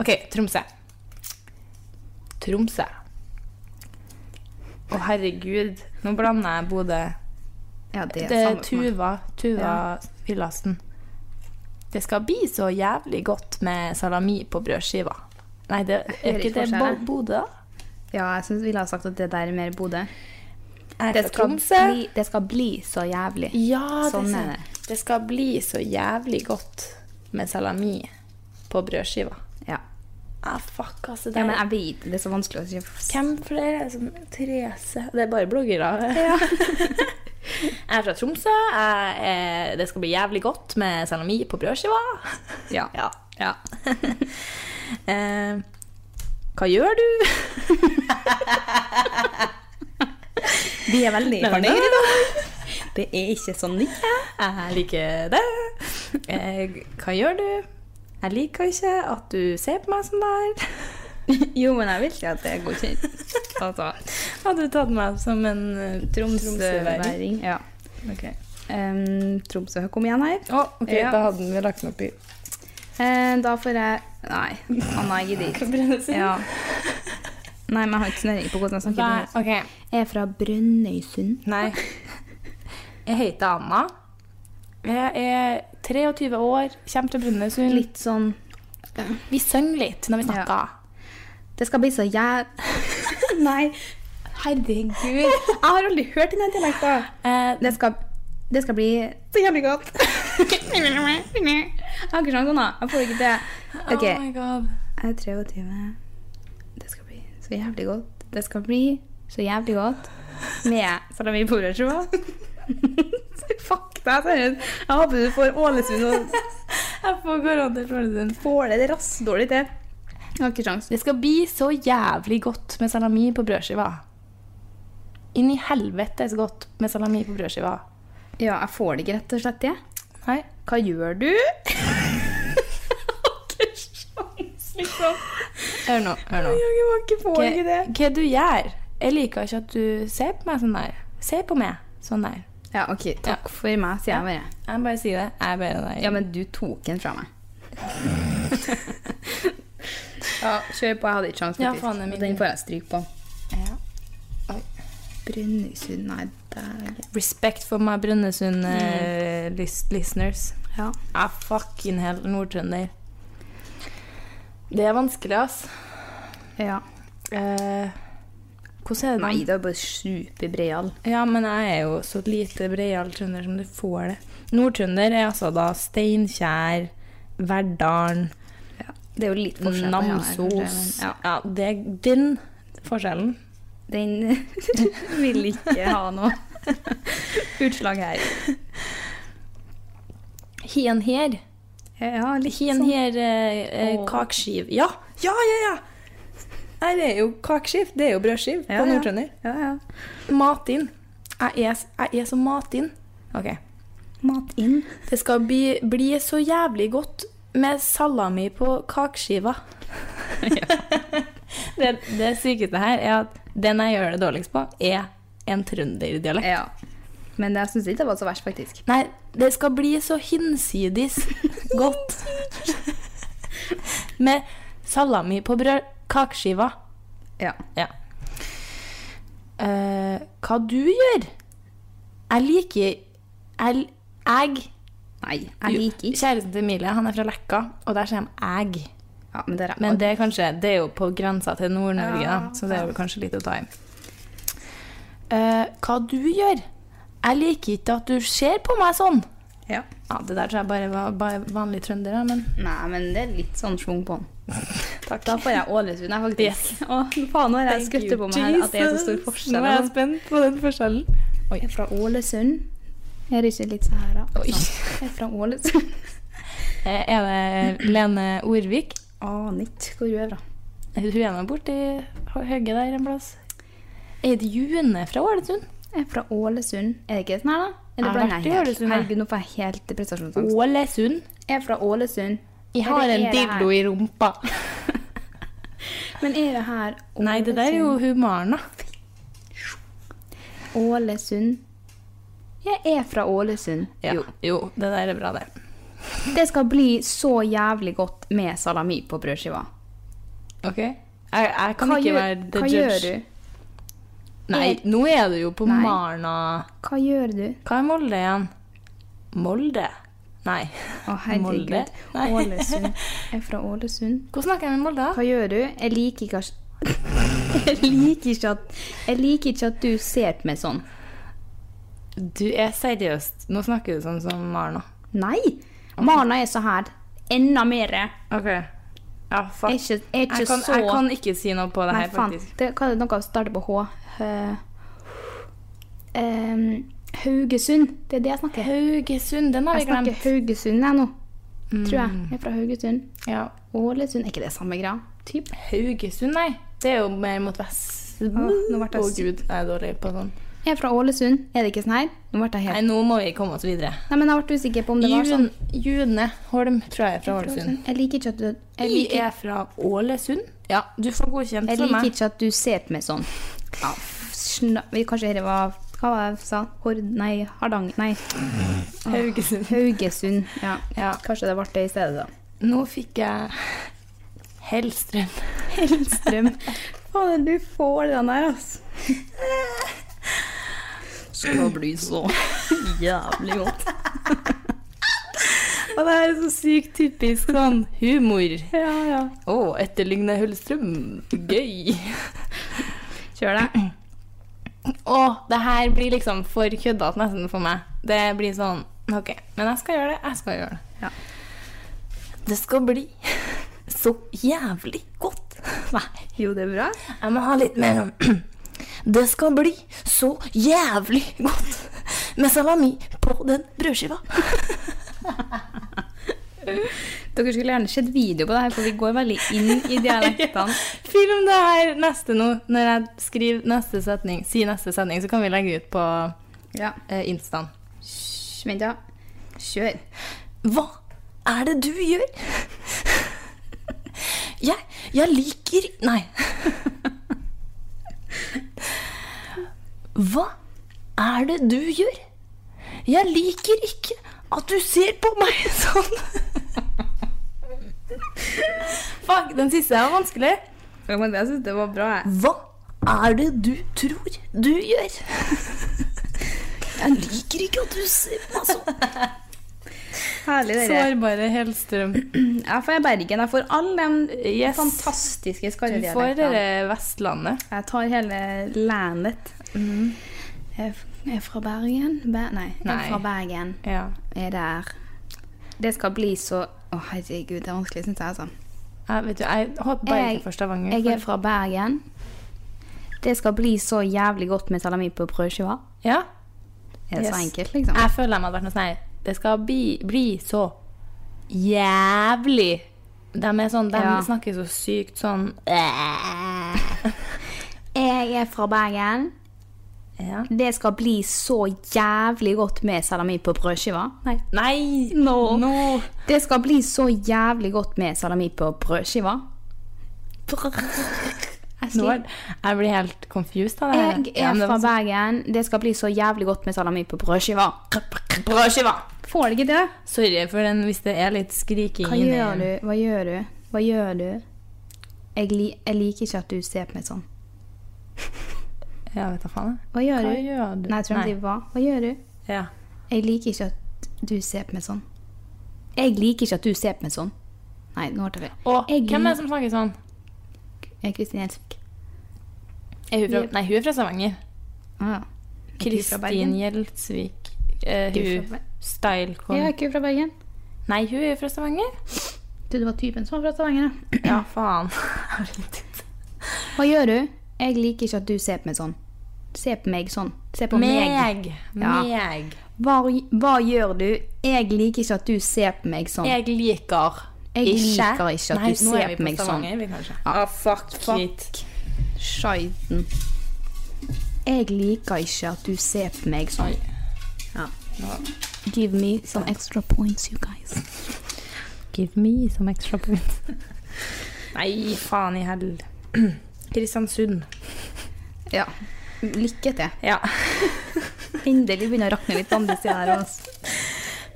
Speaker 1: OK, Tromsø. Tromsø. Å, herregud. Nå blander jeg Bodø
Speaker 2: Ja, det er
Speaker 1: Det er
Speaker 2: samme for meg.
Speaker 1: Tuva, Tuva
Speaker 2: Ja.
Speaker 1: Villassen. Det skal bli så jævlig godt med salami på brødskiva. Nei, det
Speaker 2: hører
Speaker 1: er ikke det
Speaker 2: ikke
Speaker 1: Bo-
Speaker 2: forskjellen.
Speaker 1: Bodø?
Speaker 2: Ja, jeg syns vi ville ha sagt at det der er mer Bodø.
Speaker 1: Er
Speaker 2: Det
Speaker 1: fra
Speaker 2: skal,
Speaker 1: Tromsø.
Speaker 2: bli, det skal bli så jævlig.
Speaker 1: Ja,
Speaker 2: Sånn
Speaker 1: det,
Speaker 2: er det.
Speaker 1: det skal bli så jævlig godt med salami på brødskiva.
Speaker 2: Ja.
Speaker 1: Ah, fuck, altså. Det
Speaker 2: ja,
Speaker 1: er,
Speaker 2: men jeg vet det er så vanskelig å si.
Speaker 1: Hvem flere er det som Therese Det er bare bloggere.
Speaker 2: (laughs)
Speaker 1: jeg er fra Tromsø. Jeg, er- det skal bli jævlig godt med salami på brødskiva.
Speaker 2: (laughs) Ja.
Speaker 1: Ja. (laughs) eh, hva gjør du? (laughs)
Speaker 2: Vi er veldig
Speaker 1: men-
Speaker 2: fornøyde i dag. (laughs) Det er ikke sånn nytt.
Speaker 1: Jeg liker det. Eh, hva gjør du? Jeg liker ikke at du ser på meg sånn der.
Speaker 2: Jo, men jeg vil si at det er godkjent. Altså,
Speaker 1: Hadde du tatt meg som en eh, tromsøværing?
Speaker 2: Tromsøværing. Ja.
Speaker 1: Ok,
Speaker 2: Um, Tromsø, kom igjen her.
Speaker 1: Å, (laughs) ok,
Speaker 2: Ja.
Speaker 1: Da hadde vi lagt den opp i
Speaker 2: Eh, da får jeg Nei, Anna, jeg (laughs) gidder ikke. Ja. Nei, men jeg har ikke snøring på hvordan jeg snakker.
Speaker 1: Nei,
Speaker 2: på
Speaker 1: ok.
Speaker 2: norsk. Jeg er fra Brønnøysund.
Speaker 1: Nei. Jeg heter Anna. Jeg er 23 år, kommer til Brønnøysund.
Speaker 2: Litt sånn
Speaker 1: Vi synger litt når vi
Speaker 2: Ja.
Speaker 1: snakker.
Speaker 2: Det skal bli så jæv... (laughs) Nei, herregud. Jeg har aldri hørt denne dialekten.
Speaker 1: Eh,
Speaker 2: (laughs) Det skal, det skal bli så jævlig godt. Akkurat sånn, Anna. Jeg får det ikke til. Ok,
Speaker 1: Oh my god.
Speaker 2: jeg er 23. Det skal bli så jævlig godt. Det skal bli så jævlig godt med salamiporasjon.
Speaker 1: (laughs)
Speaker 2: Fuck deg, seriøst. Jeg håper du får Ålesund og
Speaker 1: Jeg får korona i Ålesund.
Speaker 2: får det rassdårlig til. Jeg har ikke sjans.
Speaker 1: Det skal bli så jævlig godt med salami på brødskiva. Inn i helvete så godt med salami på brødskiva.
Speaker 2: Ja, jeg får det ikke rett og slett, jeg.
Speaker 1: Nei.
Speaker 2: Hva gjør (laughs) du? Liksom.
Speaker 1: Hør nå. hør nå.
Speaker 2: Jeg var ikke får
Speaker 1: Hva,
Speaker 2: ikke det.
Speaker 1: hva du gjør? Jeg liker ikke at du ser på meg sånn der. Se på meg sånn der.
Speaker 2: Ja, ok. Takk for meg, sier jeg bare.
Speaker 1: Jeg bare sier det. Jeg er bare der.
Speaker 2: Ja, men du tok den (laughs) fra meg. ja, kjør på. Jeg hadde ikke sjans,
Speaker 1: Ja,
Speaker 2: faktisk.
Speaker 1: faen, det er min.
Speaker 2: Den får jeg stryk på.
Speaker 1: Ja.
Speaker 2: Brønnøysund, nei, dægen.
Speaker 1: Respect for my Brønnøysund eh, lis- listeners.
Speaker 2: Mm. Ja.
Speaker 1: Ah, fucking hell, nordtrønder. Det er vanskelig, ass.
Speaker 2: ja.
Speaker 1: Eh, hvordan er det?
Speaker 2: Nei, det er bare superbreial.
Speaker 1: Ja, men jeg er jo så lite breial trønder som du får det. Nordtrønder er altså da Steinkjer, Verdalen,
Speaker 2: Ja. Det er jo litt forskjell. på ja, her, kanskje,
Speaker 1: Namsos.
Speaker 2: men- Ja.
Speaker 1: Ja, det er den forskjellen.
Speaker 2: Den (laughs) vil ikke ha noe utslag
Speaker 1: (laughs)
Speaker 2: her.
Speaker 1: Hien her.
Speaker 2: Ja, litt
Speaker 1: Hien
Speaker 2: sånn.
Speaker 1: her eh, eh,
Speaker 2: Åh.
Speaker 1: kakeskiv. Ja, ja, ja! ja. Nei, det er jo kakeskiv. Det er jo brødskiv
Speaker 2: Ja,
Speaker 1: på
Speaker 2: ja.
Speaker 1: Nordtrønder.
Speaker 2: Ja, ja.
Speaker 1: Matin. Jeg er, s- jeg er så matin. Ok.
Speaker 2: Mat inn.
Speaker 1: Det skal bli, bli så jævlig godt med salami på
Speaker 2: (laughs)
Speaker 1: kakeskiva. (laughs) det, det sykeste her er at den jeg gjør det dårligst på, er en trønderdialekt.
Speaker 2: Ja. Men jeg syns ikke det var så verst, faktisk.
Speaker 1: Nei, det skal bli så hinsides godt med salami på brød, kakeskiva.
Speaker 2: Ja.
Speaker 1: Ja. Eh, hva du gjør? Jeg liker Jeg, jeg
Speaker 2: Nei, jeg liker ikke.
Speaker 1: Kjæresten til Emilie han er fra Lekka, og der sier han 'æg'.
Speaker 2: Ja, men det er
Speaker 1: Men det er kanskje Det er jo på grensa til Nord-Norge, da, så det er jo kanskje litt å ta i. Eh, hva du gjør? Jeg liker ikke at du ser på meg sånn.
Speaker 2: ja.
Speaker 1: Ja, Det der tror jeg bare var bare vanlig trønder, da, men
Speaker 2: Nei, men det er litt sånn schwung (laughs) på den. Da får jeg Ålesund, jeg, faktisk. (laughs) Å, faen, nå har jeg skuttet på meg her at det er så stor forskjell. altså.
Speaker 1: Nå er jeg spent på den forskjellen.
Speaker 2: Oi, jeg er fra Ålesund. Jeg er ikke litt sånn her, da.
Speaker 1: Oi.
Speaker 2: Jeg er fra Ålesund.
Speaker 1: Eh, er det Lene Orvik?
Speaker 2: (laughs)
Speaker 1: Eh,
Speaker 2: Aner ikke hvor hun er fra.
Speaker 1: Hun er nå borti høgget der en plass. Er det June fra Ålesund?
Speaker 2: Jeg er fra Ålesund. Er det ikke sånn her, da?
Speaker 1: Jeg har
Speaker 2: Eller blander
Speaker 1: vært i
Speaker 2: jeg helt?
Speaker 1: Ålesund, jeg.
Speaker 2: Herregud, nå får jeg helt prestasjonsangst.
Speaker 1: Ålesund?
Speaker 2: Jeg er fra Ålesund.
Speaker 1: Jeg
Speaker 2: Er
Speaker 1: har
Speaker 2: det-
Speaker 1: en
Speaker 2: er det
Speaker 1: dildo i rumpa. (laughs)
Speaker 2: Men er det her
Speaker 1: Nei, det der er jo Humarna.
Speaker 2: Ålesund. Jeg er fra Ålesund. Jo.
Speaker 1: det der er bra, det.
Speaker 2: Det skal bli så jævlig godt med salami på brødskiva.
Speaker 1: Ok? Jeg, jeg kan
Speaker 2: Hva,
Speaker 1: ikke
Speaker 2: gjør,
Speaker 1: være the
Speaker 2: hva
Speaker 1: judge.
Speaker 2: gjør du?
Speaker 1: Nei, nå er du jo på
Speaker 2: Nei.
Speaker 1: Marna
Speaker 2: Hva gjør du?
Speaker 1: Hva er Molde igjen? Molde? Nei. (laughs)
Speaker 2: Å, herregud.
Speaker 1: Molde? Nei. (laughs)
Speaker 2: Ålesund. Jeg er fra Ålesund.
Speaker 1: Hvordan snakker jeg med Molde? da?
Speaker 2: Hva gjør du? Jeg liker ikke at (laughs) jeg liker, ikke at, jeg liker ikke at du ser på meg sånn.
Speaker 1: Du er seriøst. Nå snakker du sånn som Marna.
Speaker 2: Nei! Marna er så her. Enda mer. Jeg
Speaker 1: Ok. Ja, fuck.
Speaker 2: er ikke, jeg er ikke
Speaker 1: jeg, kan,
Speaker 2: så
Speaker 1: jeg kan ikke si noe på det
Speaker 2: Nei,
Speaker 1: her,
Speaker 2: faen.
Speaker 1: faktisk.
Speaker 2: Det, hva er det noe som starter på H? Hø- Ehm, Haugesund. Det er det jeg snakker.
Speaker 1: Haugesund, den har vi
Speaker 2: Jeg snakker
Speaker 1: glemt. Mm.
Speaker 2: Haugesund jeg nå, tror jeg. Jeg er fra Haugesund.
Speaker 1: Ja.
Speaker 2: Ålesund. Er ikke det samme greia? Typ.
Speaker 1: Haugesund, nei. Det er jo mer mot vest. Å,
Speaker 2: nå ble jeg
Speaker 1: Å,
Speaker 2: s-
Speaker 1: gud. Jeg er dårlig på sånn.
Speaker 2: Jeg er fra Ålesund. Er det ikke sånn her? Nå ble jeg
Speaker 1: Nei,
Speaker 2: helt
Speaker 1: nå må vi komme oss videre.
Speaker 2: Nei, men jeg ble usikker på om det var sånn.
Speaker 1: Jun- June Holm, tror jeg, er fra Ålesund.
Speaker 2: Jeg liker ikke at du Jeg
Speaker 1: Vi
Speaker 2: liker,
Speaker 1: er fra Ålesund. Ja, du får godkjent
Speaker 2: jeg
Speaker 1: for
Speaker 2: liker
Speaker 1: meg.
Speaker 2: ikke at du ser på meg sånn. Ja, f- sna- vi- Kanskje dette var Hva var det jeg sa? Hord... Nei, Hardanger Nei,
Speaker 1: (laughs) Haugesund.
Speaker 2: Haugesund. Ja.
Speaker 1: Ja.
Speaker 2: Kanskje det ble det i stedet,
Speaker 1: (laughs)
Speaker 2: da.
Speaker 1: Nå fikk jeg (laughs) Hellstrøm.
Speaker 2: Hellstrøm. Faen, du får den der, altså. Skal bli så (laughs) jævlig
Speaker 1: (laughs)
Speaker 2: godt.
Speaker 1: Og det er så sykt typisk sånn humor. Ja, ja. Å, etterligne Hellstrøm. Gøy.
Speaker 2: Kjør det.
Speaker 1: Å, det her blir liksom for køddete nesten for meg. Det blir sånn Ok, men jeg skal gjøre det. Jeg skal gjøre det.
Speaker 2: Ja.
Speaker 1: Det skal bli så jævlig godt. Nei.
Speaker 2: Jo, det er bra.
Speaker 1: Jeg må ha litt mer om (clears throat) Det skal bli så jævlig godt med salami på den brødskiva.
Speaker 2: Dere skulle gjerne sett video på det her, for vi går veldig inn Mm,
Speaker 1: (laughs)
Speaker 2: i dialektene.
Speaker 1: Film det her neste nå. Når jeg skriver neste setning, sier neste setning, så kan vi legge ut på
Speaker 2: Ja.
Speaker 1: eh, Instaen.
Speaker 2: Hysj, Vent, da. Kjør.
Speaker 1: Hva er det du gjør? Jeg, jeg liker Nei. Hva er det du gjør? Jeg liker ikke at du ser på meg sånn. Fuck, den siste var vanskelig.
Speaker 2: Ja, men jeg syns det var bra. jeg.
Speaker 1: Hva er det du tror du gjør? Jeg liker ikke at du ser på meg sånn.
Speaker 2: Herlig, dere.
Speaker 1: Sårbare Hellstrøm.
Speaker 2: Jeg får Bergen. Jeg får alle de
Speaker 1: Yes.
Speaker 2: fantastiske
Speaker 1: Du får eh,
Speaker 2: skarredialektene.
Speaker 1: dere Vestlandet.
Speaker 2: Jeg tar hele landet.
Speaker 1: Mhm.
Speaker 2: Jeg er f- jeg er fra Bergen Be Nei, jeg
Speaker 1: Nei.
Speaker 2: er fra Bergen.
Speaker 1: Ja.
Speaker 2: Jeg er der. Det skal bli så Å, herregud, det er vanskelig, syns jeg, altså.
Speaker 1: Jeg, vet du, jeg håper bare ikke for Stavanger.
Speaker 2: jeg er
Speaker 1: for-
Speaker 2: fra Bergen. Det skal bli så jævlig godt med salami på brødskiva.
Speaker 1: ja?
Speaker 2: Er det så
Speaker 1: Yes.
Speaker 2: enkelt, liksom?
Speaker 1: Jeg føler jeg hadde vært noe sånn her Det skal bli, bli så jævlig. De, er sånn, de
Speaker 2: Ja.
Speaker 1: snakker så sykt sånn
Speaker 2: Jeg er fra Bergen.
Speaker 1: ja.
Speaker 2: Det skal bli så jævlig godt med salami på brødskiva. Nei.
Speaker 1: Nei!
Speaker 2: No.
Speaker 1: no.
Speaker 2: Det skal bli så jævlig godt med salami på brødskiva. Jeg
Speaker 1: Nå
Speaker 2: sliter.
Speaker 1: er, jeg blir helt confused av det her.
Speaker 2: Jeg
Speaker 1: Ja,
Speaker 2: er
Speaker 1: men det
Speaker 2: fra
Speaker 1: var så-
Speaker 2: Bergen. Det skal bli så jævlig godt med salami på brødskiva.
Speaker 1: Brødskiva!
Speaker 2: Får du ikke det?
Speaker 1: sånn- Sorry for den hvis det er litt skriking
Speaker 2: Hva
Speaker 1: inni.
Speaker 2: gjør du? Hva gjør du? Hva gjør du? Jeg, li jeg liker ikke at du ser på meg sånn.
Speaker 1: Ja, vet da faen. jeg.
Speaker 2: Hva gjør
Speaker 1: Hva
Speaker 2: du?
Speaker 1: gjør du?
Speaker 2: Nei, jeg tror han
Speaker 1: Nei.
Speaker 2: sier hva. Hva gjør du?
Speaker 1: Ja.
Speaker 2: Jeg liker ikke at du ser på meg sånn. Jeg liker ikke at du ser på meg sånn. Nei, nå ble det
Speaker 1: Og
Speaker 2: Jeg
Speaker 1: hvem er
Speaker 2: lik-
Speaker 1: det som snakker sånn?
Speaker 2: Eh, Kristin Gjelsvik.
Speaker 1: Er hun fra,
Speaker 2: Jep.
Speaker 1: nei, hun er fra Stavanger.
Speaker 2: Ah, ja. Er ikke du fra
Speaker 1: Kristin
Speaker 2: Bergen?
Speaker 1: Gjelsvik. Eh,
Speaker 2: Du er
Speaker 1: hun
Speaker 2: fra Ber-
Speaker 1: Stylecon.
Speaker 2: Jeg er ikke fra Bergen.
Speaker 1: Nei, hun er fra Stavanger.
Speaker 2: Du, det var typen som var fra Stavanger. da.
Speaker 1: Ja, faen. (laughs)
Speaker 2: Hva gjør du? Jeg liker ikke at du ser på meg sånn. Se på meg sånn. Se på meg.
Speaker 1: Meg.
Speaker 2: Ja.
Speaker 1: Meg.
Speaker 2: Hva, hva gjør du? Jeg liker ikke at du ser på meg sånn.
Speaker 1: Jeg liker
Speaker 2: Jeg liker ikke at
Speaker 1: Nei,
Speaker 2: du
Speaker 1: nå
Speaker 2: ser
Speaker 1: er vi
Speaker 2: på meg
Speaker 1: på Stavanger,
Speaker 2: sånn.
Speaker 1: vi kanskje.
Speaker 2: Ah, fuck,
Speaker 1: Shit.
Speaker 2: Scheiden. Jeg liker ikke at du ser på meg sånn.
Speaker 1: Oi.
Speaker 2: Ja.
Speaker 1: Nå.
Speaker 2: Give me some extra points, you guys.
Speaker 1: Give me some extra points. (laughs) Nei, faen i hell. (clears throat) Kristiansund.
Speaker 2: Ja. Lykke til.
Speaker 1: Ja.
Speaker 2: Endelig begynner å rakne litt på andre sida her. Også.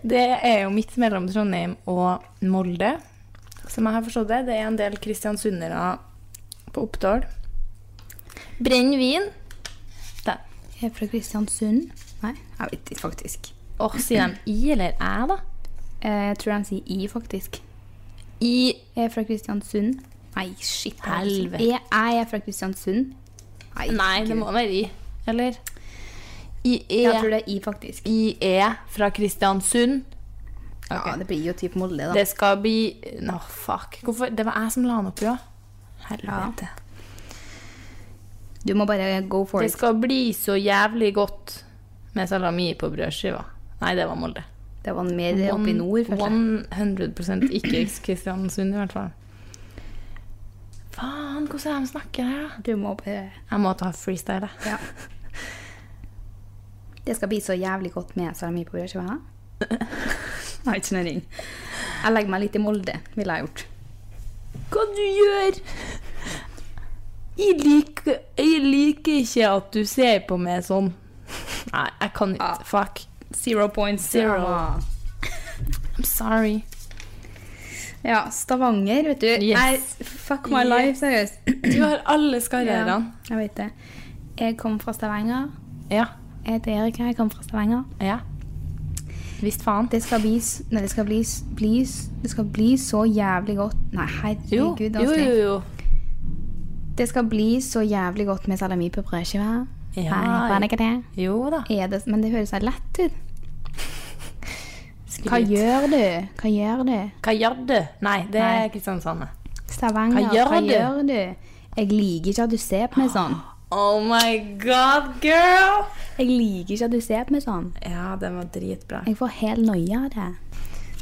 Speaker 1: Det er jo midt mellom Trondheim og Molde, som jeg har forstått det. Det er en del kristiansundere på Oppdal. Brennevin. Der.
Speaker 2: Jeg er fra Kristiansund. Nei, jeg vet ikke faktisk.
Speaker 1: Og sier de i eller æ, da?
Speaker 2: Eh, Jeg tror de sier I, faktisk.
Speaker 1: I
Speaker 2: Jeg er fra Kristiansund. Nei, shit. jeg har ikke sagt
Speaker 1: Helvete.
Speaker 2: E. Jeg er fra Kristiansund. Nei,
Speaker 1: Nei, det
Speaker 2: gud.
Speaker 1: må være i. Eller? I E.
Speaker 2: Jeg tror det er I, faktisk.
Speaker 1: I E fra Kristiansund.
Speaker 2: Ja, det blir jo typ Molde, da.
Speaker 1: Det skal bli Nå, fuck. Hvorfor? Det var jeg som la den opp, ja. Helvete.
Speaker 2: Du må bare go for
Speaker 1: Det
Speaker 2: it.
Speaker 1: skal bli så jævlig godt med salami på brødskiva. Nei, det var Molde.
Speaker 2: Det var mer oppe i nord, føler jeg.
Speaker 1: 100 ikke Kristiansund, i hvert fall. Faen, hvordan er det de snakker her, da?
Speaker 2: Du må bare
Speaker 1: Jeg må ta freestyle. jeg.
Speaker 2: Ja. Det skal bli så jævlig godt med salami på brødskiva. (laughs) hæ? Jeg har ikke snøring. Jeg legger meg litt i Molde, ville jeg gjort.
Speaker 1: Hva du gjør? Jeg liker, jeg liker ikke at du ser på meg sånn. Nei, jeg kan ikke.
Speaker 2: Ja.
Speaker 1: Fuck.
Speaker 2: Zero point
Speaker 1: zero. I'm sorry.
Speaker 2: Ja, Stavanger, vet du.
Speaker 1: Yes.
Speaker 2: Nei, fuck my life, seriøst.
Speaker 1: Du har alle skarrierene.
Speaker 2: Jeg vet det. Jeg kom fra Stavanger.
Speaker 1: Ja.
Speaker 2: Jeg heter Erik, jeg kommer fra Stavanger.
Speaker 1: Ja. Visst faen.
Speaker 2: Det skal bli, s- nei, det skal bli, s- bli, s- det skal bli så jævlig godt Nei,
Speaker 1: Jo,
Speaker 2: herregud.
Speaker 1: jo,
Speaker 2: vanskelig.
Speaker 1: jo. jo.
Speaker 2: Det skal bli så jævlig godt med salami på brødskiva.
Speaker 1: Ja.
Speaker 2: Nei, var det ikke det?
Speaker 1: Jo da.
Speaker 2: Er det, men det høres så lett ut.
Speaker 1: Skryt.
Speaker 2: Hva gjør du? Hva gjør du?
Speaker 1: Hva gjør du? Nei, det
Speaker 2: Nei.
Speaker 1: er Kristiansand. det.
Speaker 2: Stavanger,
Speaker 1: Hva gjør du?
Speaker 2: du? Jeg liker ikke at du ser på meg sånn.
Speaker 1: Oh my god, girl!
Speaker 2: Jeg liker ikke at du ser på meg sånn.
Speaker 1: Ja, den var dritbra.
Speaker 2: Jeg får helt noia av det.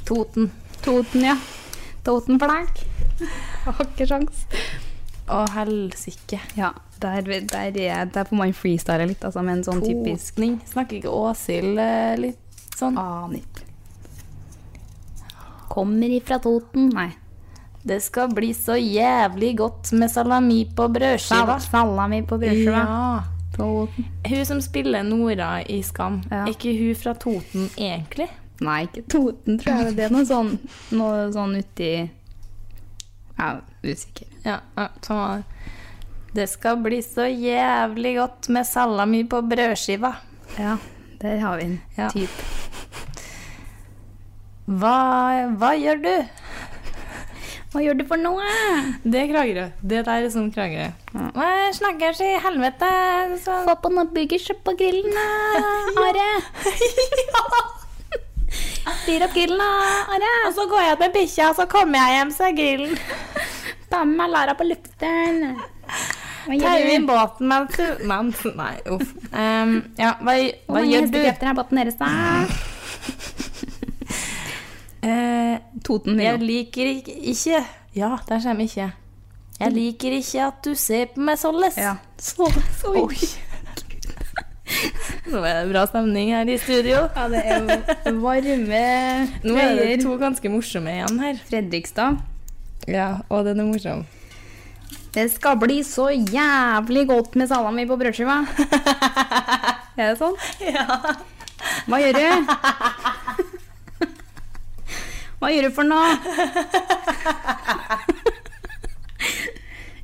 Speaker 1: Toten.
Speaker 2: Toten, ja. Toten flagg. (laughs) Har ikke sjans.
Speaker 1: Å, helsike.
Speaker 2: Ja, der, der, er- der får man freestyle litt, altså, med en sånn typisk
Speaker 1: Potning. Snakker ikke Åshild eh, litt sånn?
Speaker 2: aner ikke. Kommer ifra Toten, nei.
Speaker 1: Det skal bli så jævlig godt med salami på brødskiva.
Speaker 2: Sal salami på brødskiva.
Speaker 1: Ja.
Speaker 2: Toten.
Speaker 1: Hun som spiller Nora i Skam,
Speaker 2: Ja.
Speaker 1: er ikke hun fra Toten egentlig?
Speaker 2: Nei, ikke Toten, tror jeg. Det er noe sånn, noe sånn uti Ja, usikker.
Speaker 1: Ja, ja, sånn var det. Det skal bli så jævlig godt med salami på brødskiva.
Speaker 2: Ja, der har vi den.
Speaker 1: Ja.
Speaker 2: Typ.
Speaker 1: Hva, hva gjør du?
Speaker 2: Hva gjør du for noe?
Speaker 1: Det er Kragerø. Det der er sånn Kragerø. Jeg snakkes i helvete. Sånn. (laughs)
Speaker 2: Få på noen burgers opp på grillen, da, Are. Fyr opp grillen, da, Are.
Speaker 1: Og så går jeg til bikkja, så kommer jeg hjem, så er grillen.
Speaker 2: Ta med meg Lara på lufteren. Hva
Speaker 1: Tau
Speaker 2: gjør
Speaker 1: i
Speaker 2: du?
Speaker 1: båten mens du mens, Nei, uff. Em, ja, hva,
Speaker 2: Hvor
Speaker 1: hva
Speaker 2: mange
Speaker 1: gjør du?
Speaker 2: hestekrefter er båten deres, da?
Speaker 1: (laughs) Eh,
Speaker 2: Toten
Speaker 1: jeg liker ikke, ikke Ja, der kommer ikke. Jeg liker ikke at du ser på meg såles.
Speaker 2: Ja.
Speaker 1: Så, så Nå er det bra stemning her i studio.
Speaker 2: Ja, det er jo varme
Speaker 1: Nå er det
Speaker 2: trøyer.
Speaker 1: to ganske morsomme igjen her.
Speaker 2: Fredrikstad.
Speaker 1: Ja, og den er morsom.
Speaker 2: Det skal bli så jævlig godt med salami på brødskiva. (laughs) Er det sånn?
Speaker 1: Ja.
Speaker 2: Hva gjør du? Hva gjør du for noe?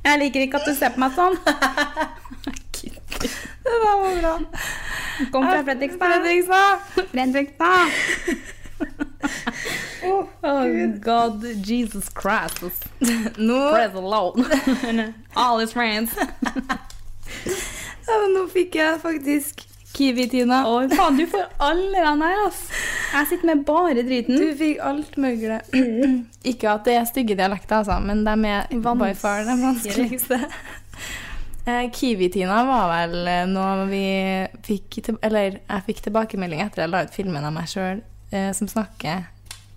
Speaker 2: Jeg liker ikke at du ser på meg sånn.
Speaker 1: Det der var bra.
Speaker 2: Kom fra Fredrikstad.
Speaker 1: Fredrikstad.
Speaker 2: Fredrikstad.
Speaker 1: Oh,
Speaker 2: God, Jesus Christ.
Speaker 1: nå, (laughs)
Speaker 2: alone. All his friends.
Speaker 1: ja, men nå fikk jeg faktisk Kiwi-Tina.
Speaker 2: Å, faen, du får alle den her, ass. Jeg sitter med bare
Speaker 1: Du
Speaker 2: driten.
Speaker 1: fikk alt mulig. Mm. Ikke at det er stygge dialekter, altså, men de er by far de vanskeligste. (laughs) Eh, Kiwi-Tina var vel eh, noe vi fikk til, Eller jeg fikk tilbakemelding etter jeg la ut filmen av meg sjøl eh, som snakker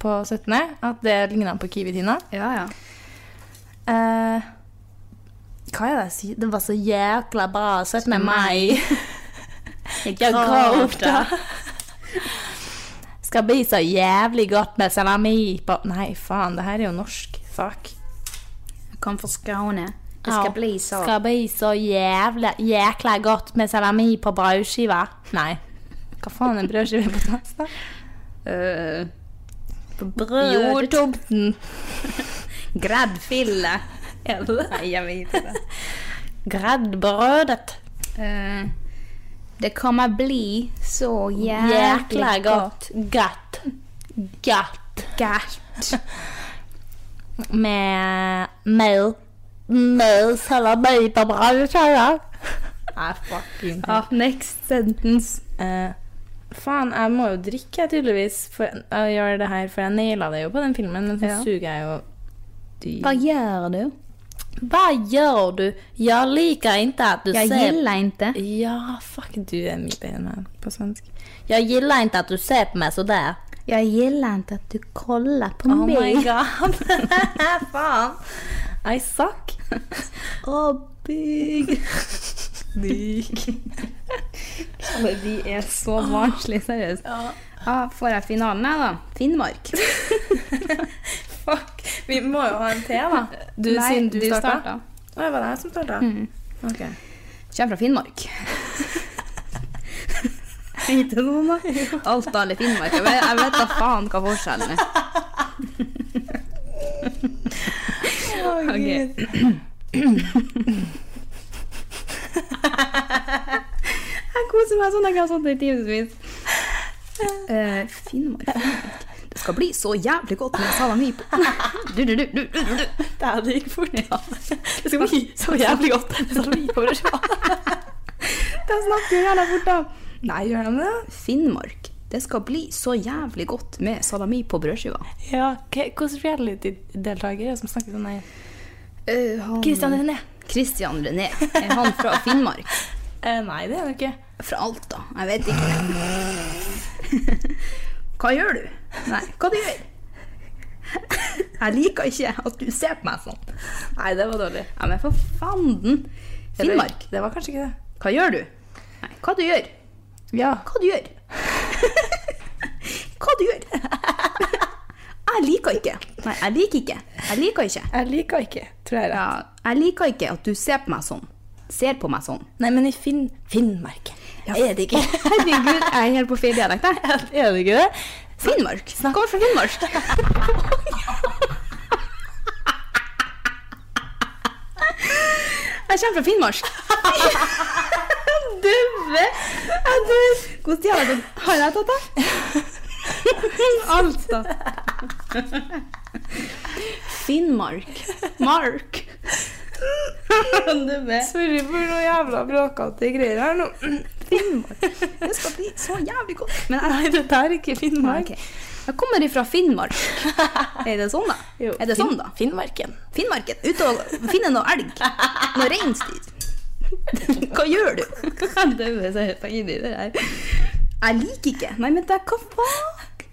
Speaker 1: på 17., at det ligna på Kiwi-Tina.
Speaker 2: Ja, ja.
Speaker 1: Eh, hva er det jeg sier? Det var så jækla bra 17. (laughs) mai. Jeg gråter. Skal bli så jævlig godt med salami på Nei, faen, det her er jo norsk. Fuck.
Speaker 2: Kom fra Skåne. Det skal
Speaker 1: Ja.
Speaker 2: bli så.
Speaker 1: Skal bli så jævla, jækla godt med salami på brødskiva. Nei. Hva faen er brødskive på dansk, da? Eh,
Speaker 2: Øh, på brødet.
Speaker 1: Jordtomten.
Speaker 2: Gräddfille. Eller? Nei, jeg vet ikke.
Speaker 1: Gräddbrødet.
Speaker 2: Eh, det kommer bli så
Speaker 1: Jækla
Speaker 2: jækla godt.
Speaker 1: godt. Godt. Godt.
Speaker 2: Gært.
Speaker 1: Med Med, med salami på brødskiva. Nei, Ah, fucking
Speaker 2: Ja, next sentence.
Speaker 1: Eh, faen, jeg må jo drikke, jeg, tydeligvis, for å gjøre det her, for jeg naila det jo på den filmen, men så
Speaker 2: Ja.
Speaker 1: suger jeg jo
Speaker 2: Hva gjør du?
Speaker 1: Hva gjør du? Jeg liker ikke at du
Speaker 2: Jeg
Speaker 1: ser
Speaker 2: gillar inte.
Speaker 1: Ja, fuck, du er mye bedre enn meg på svensk. Jeg gillar ikke at du ser på meg så der.
Speaker 2: Jeg gillar inte att du kollar på
Speaker 1: Oh my
Speaker 2: (laughs) mig.
Speaker 1: god. (laughs) faen. I suck.
Speaker 2: Åh, big. Vi er så barnslige, seriøst. Ah, får jeg finalen her, da? Finnmark.
Speaker 1: Fuck. Vi må jo ha en te, da. Du,
Speaker 2: Nei,
Speaker 1: siden du,
Speaker 2: du
Speaker 1: starta.
Speaker 2: starta.
Speaker 1: Å, det var det jeg som starta? Ok.
Speaker 2: Kjem fra Finnmark. Heter det noe, da? Alta eller Finnmark? Jeg vet, jeg vet da faen hva forskjellen er. Ok. Jeg koser meg sånn. Jeg kan ha sånt i timevis. Eh, Finnmark, Finnmark Det skal bli så jævlig godt med salami på du, du, du, du, du, du.
Speaker 1: Det her, det gikk fort. (laughs) Det skal bli så jævlig godt. Det skal bli på (laughs) brødskiva.
Speaker 2: De snakker jo jævla fort, da.
Speaker 1: Nei, gjør de det?
Speaker 2: Finnmark.
Speaker 1: Det skal bli så jævlig godt med salami på brødskiva.
Speaker 2: Ja, Hvilken reality-deltaker er det som snakker sånn? her?
Speaker 1: Eh, han-
Speaker 2: Christian René.
Speaker 1: Christian René. Er han fra Finnmark?
Speaker 2: Eh, nei, det er det ikke.
Speaker 1: Fra Alta? Jeg vet ikke. (laughs) Hva gjør du? Nei, hva du gjør? Jeg liker ikke at du ser på meg sånn.
Speaker 2: Nei, det var dårlig.
Speaker 1: Ja, men for fanden! Finnmark,
Speaker 2: Det, det var kanskje ikke det.
Speaker 1: hva gjør du? Nei, hva du gjør?
Speaker 2: Ja.
Speaker 1: Hva du gjør? (laughs) Hva du gjør? (laughs) Jeg liker ikke. Nei, jeg liker ikke. Jeg liker ikke.
Speaker 2: Jeg liker ikke, tror jeg.
Speaker 1: Ja, jeg liker ikke at du ser på meg sånn. Ser på meg sånn.
Speaker 2: Nei, men i Finn Finnmark er
Speaker 1: (laughs)
Speaker 2: det ikke
Speaker 1: Herregud, jeg er helt på feil dialekt,
Speaker 2: (laughs)
Speaker 1: jeg.
Speaker 2: Er det ikke det?
Speaker 1: Finnmark. Kommer fra Finnmark. Jeg kommer fra Finnmark. (laughs) Døve! Jeg dør. Hvordan dialekt har jeg tatt, da? Alta. Finnmark. Mark. Døve.
Speaker 2: Sorry for noe jævla bråkete greier her nå.
Speaker 1: Finnmark. Det skal bli så jævlig godt. Men jeg
Speaker 2: Nei, det der er ikke Finnmark.
Speaker 1: Ok. Jeg kommer ifra Finnmark. (laughs) Er det sånn, da? Er det sånn, da?
Speaker 2: Finnmarken.
Speaker 1: Finnmarken, ut og finne noe elg. Noe reinsdyr. (laughs) Hva
Speaker 2: (laughs)
Speaker 1: gjør du? Døve seriøst, jeg gidder det her. Jeg liker ikke. Nei, men det er hva faen?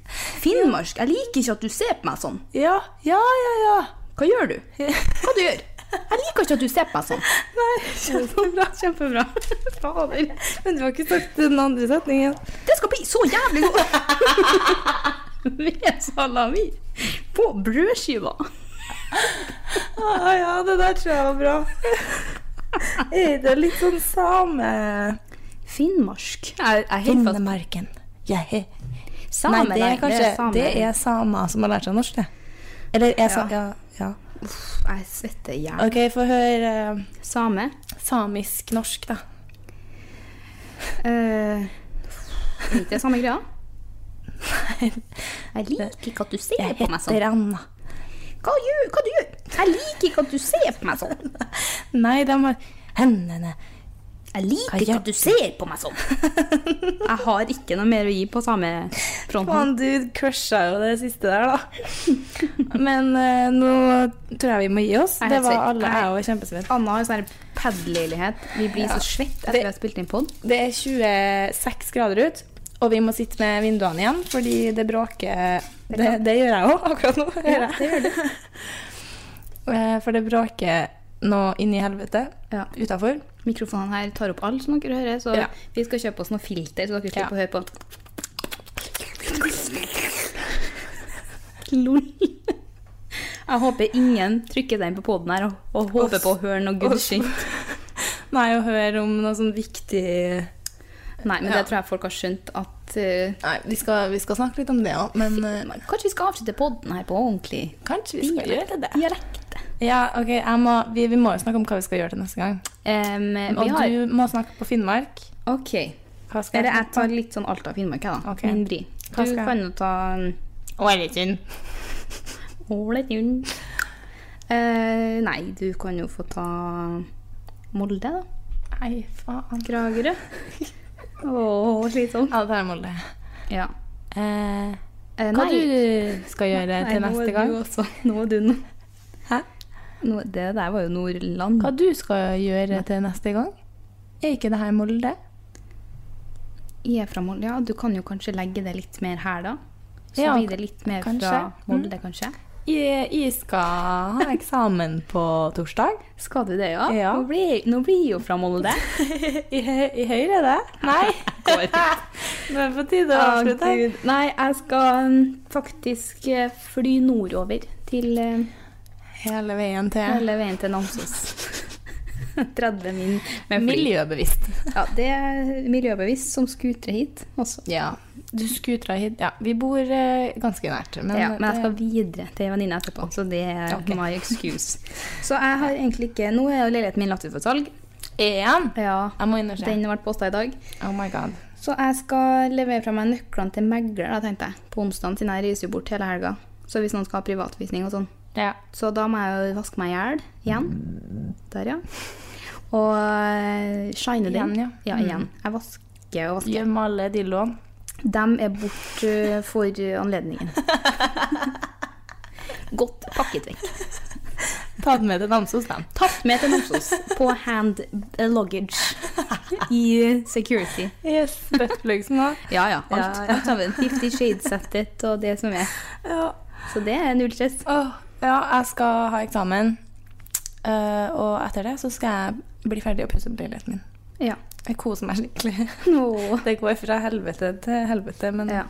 Speaker 1: Finnmark, jeg liker ikke at du ser på meg sånn.
Speaker 2: Ja, ja, ja. ja.
Speaker 1: Hva gjør du? Hva du gjør? Jeg liker ikke at du ser på meg sånn.
Speaker 2: (laughs) Nei, kjempebra. kjempebra. Fader. Men du har ikke sagt den andre setningen.
Speaker 1: Det skal bli så jævlig godt!
Speaker 2: (laughs)
Speaker 1: Med salami på brødskiva.
Speaker 2: Ah, ja, det der tror jeg var
Speaker 1: (laughs)
Speaker 2: bra. Er det litt sånn same...
Speaker 1: Finnmark. Jeg, jeg er helt fast.
Speaker 2: Finnemarken. Jeg he-
Speaker 1: Same,
Speaker 2: nei, det er kanskje
Speaker 1: same.
Speaker 2: Det er samer som har lært seg norsk, det. Eller er sa... Ja. ja.
Speaker 1: Jeg svetter i hjel.
Speaker 2: OK, få høre eh,
Speaker 1: Same.
Speaker 2: samisk-norsk,
Speaker 1: (laughs)
Speaker 2: da.
Speaker 1: Uh, ikke det samme greia? Jeg liker ikke at du ser
Speaker 2: Jeg
Speaker 1: på meg
Speaker 2: heter
Speaker 1: sånn.
Speaker 2: Anna.
Speaker 1: Hva gjør hva du? gjør? Jeg liker ikke at du ser på meg sånn.
Speaker 2: Nei, de har
Speaker 1: (laughs)
Speaker 2: hendene
Speaker 1: Jeg
Speaker 2: Hva
Speaker 1: liker
Speaker 2: gjør
Speaker 1: ikke at du ser på meg sånn. Jeg har ikke noe mer å gi på samme fronten.
Speaker 2: Faen, du crusha jo det siste (laughs) der, da. Men eh, nå tror jeg vi må gi oss.
Speaker 1: Jeg er
Speaker 2: Det
Speaker 1: helt
Speaker 2: var
Speaker 1: svett.
Speaker 2: alle.
Speaker 1: Jeg-
Speaker 2: Jeg var kjempesvett.
Speaker 1: Anna har sånn her pad-leilighet. Vi blir så svett etter
Speaker 2: Det-
Speaker 1: vi har spilt inn pod.
Speaker 2: Det er 26 grader ut, og vi må sitte med vinduene igjen fordi det bråker Det, det gjør jeg òg akkurat nå. hører jeg. (laughs) Eh, For det bråker noe inni helvete eh,
Speaker 1: Ja.
Speaker 2: utafor.
Speaker 1: Mikrofonene her tar opp alt som dere hører, så
Speaker 2: Ja.
Speaker 1: vi skal kjøpe oss noe filter, så dere
Speaker 2: Ja.
Speaker 1: slipper å høre på. Lol. Jeg håper ingen trykker den på poden her og, og håper på å høre noe good shit.
Speaker 2: (laughs) Nei, å høre om noe sånn viktig
Speaker 1: Nei, men
Speaker 2: Ja.
Speaker 1: det tror jeg folk har skjønt at eh,
Speaker 2: Nei, vi skal, vi skal snakke litt om det òg, men eh,
Speaker 1: Kanskje vi skal avslutte poden her på ordentlig
Speaker 2: kanskje vi skal gjøre det.
Speaker 1: dialekt?
Speaker 2: Ja, ok, jeg må, vi, vi må jo snakke om hva vi skal gjøre til neste gang.
Speaker 1: Em, Eh, vi
Speaker 2: Og
Speaker 1: har
Speaker 2: du må snakke på Finnmark.
Speaker 1: OK.
Speaker 2: Hva
Speaker 1: Eller jeg tar litt sånn Alta og Finnmark, jeg, da.
Speaker 2: Ok.
Speaker 1: Min vri.
Speaker 2: Hva
Speaker 1: Du
Speaker 2: skal jeg-
Speaker 1: kan jo ta mm, en
Speaker 2: Ålesund.
Speaker 1: Åletjun. Eh, nei, du kan jo få ta Molde, da.
Speaker 2: Nei, faen.
Speaker 1: Kragerø. Å, slitsomt.
Speaker 2: (laughs) Ja, det er Molde.
Speaker 1: Ja.
Speaker 2: Eh,
Speaker 1: Eh,
Speaker 2: hva
Speaker 1: nei.
Speaker 2: du skal gjøre
Speaker 1: Nei, nå
Speaker 2: til
Speaker 1: er
Speaker 2: neste
Speaker 1: du
Speaker 2: gang?
Speaker 1: også- (laughs) Nå er du nå.
Speaker 2: Hæ?
Speaker 1: Nå, det der var jo Nordland.
Speaker 2: Hva du skal gjøre til neste gang? Er ikke det her Molde?
Speaker 1: Jeg er fra Molde. Ja, du kan jo kanskje legge det litt mer her, da. Så
Speaker 2: Ja,
Speaker 1: blir det litt mer fra
Speaker 2: kanskje. Mm.
Speaker 1: Molde, kanskje.
Speaker 2: Jeg, jeg skal ha eksamen på
Speaker 1: (laughs)
Speaker 2: torsdag.
Speaker 1: Skal du det, ja?
Speaker 2: Ja.
Speaker 1: Nå blir, nå blir jeg jo fra Molde.
Speaker 2: I, hø- i Høyre, er det? (laughs) Nei.
Speaker 1: Går ikke.
Speaker 2: Nå er det på tide å
Speaker 1: Å,
Speaker 2: avslutte. her.
Speaker 1: Gud. Nei, jeg skal mm, faktisk eh, fly nordover til eh,
Speaker 2: Hele veien til
Speaker 1: Hele veien til (laughs) Namsos. 30 min med fly.
Speaker 2: Miljøbevisst.
Speaker 1: Ja, det er miljøbevisst som skuter hit også.
Speaker 2: Ja. Du skutra hit Ja, vi bor eh, ganske nært, men,
Speaker 1: ja, men eh, jeg
Speaker 2: det-
Speaker 1: skal videre til en venninne etterpå, så det er
Speaker 2: Ok.
Speaker 1: my excuse. (laughs) Så jeg har egentlig ikke Nå er jo leiligheten min lagt ut for salg.
Speaker 2: Igjen?
Speaker 1: Ja,
Speaker 2: Jeg må inn og se.
Speaker 1: Den har vært posta i dag.
Speaker 2: Oh my god.
Speaker 1: Så jeg skal levere fra meg nøklene til megler, da, tenkte jeg. På onsdagen, siden jeg reiser jo bort hele helga. Så hvis noen skal ha privatvisning og sånn.
Speaker 2: Ja.
Speaker 1: Så da må jeg jo vaske meg i hjel igjen. Der, ja. Og eh, shine den.
Speaker 2: Igjen, ja.
Speaker 1: Mm. igjen. Jeg vasker og vasker.
Speaker 2: Gjem alle dildoene. De er bort eh, for anledningen. (laughs) Godt pakket vekk.
Speaker 1: Ta den med til Namsos, da.
Speaker 2: Tatt med til Namsos på hand eh, luggage i security.
Speaker 1: Yes, (laughs) buttplugs nå.
Speaker 2: Ja, ja. Alt,
Speaker 5: Ja, ja.
Speaker 2: alt sammen. Fifty Shades-settet og det som er.
Speaker 1: Ja.
Speaker 2: Så det er null stress. (laughs)
Speaker 1: Åh, ja, jeg skal ha eksamen. Eh, og etter det så skal jeg bli ferdig og pusse opp leiligheten min.
Speaker 2: Ja.
Speaker 1: Jeg koser meg skikkelig.
Speaker 2: Åh.
Speaker 1: (laughs) Det går fra helvete til helvete, men ja.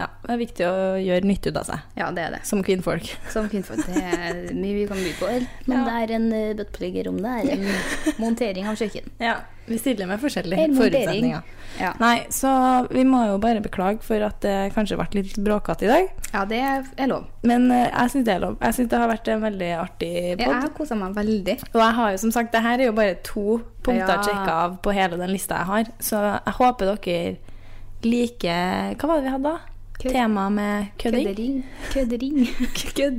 Speaker 2: Ja.
Speaker 1: det er viktig å gjøre nytte ut av seg
Speaker 2: ja, det er det.
Speaker 1: som kvinnfolk.
Speaker 2: Som kvinnfolk. Det er mye vi kan by på. Men det er en eh, buttplug i rommet. Det (laughs) er en montering av kjøkken.
Speaker 1: Ja, Vi stiller med forskjellige
Speaker 2: En montering.
Speaker 1: forutsetninger.
Speaker 2: Ja.
Speaker 1: Nei, så vi må jo bare beklage for at det kanskje ble litt bråkete i dag.
Speaker 2: ja, det er lov.
Speaker 1: Men eh, jeg syns det er lov. Jeg syns det har vært en veldig artig
Speaker 2: Jeg
Speaker 1: pod.
Speaker 2: har kosa meg veldig.
Speaker 1: Og jeg har jo som sagt, det her er jo bare to punkter
Speaker 2: Ja.
Speaker 1: å sjekke av på hele den lista jeg har. Så jeg håper dere liker Hva var det vi hadde da?
Speaker 2: Kødd-
Speaker 1: Tema med kødding?
Speaker 2: Køddering. Køddering.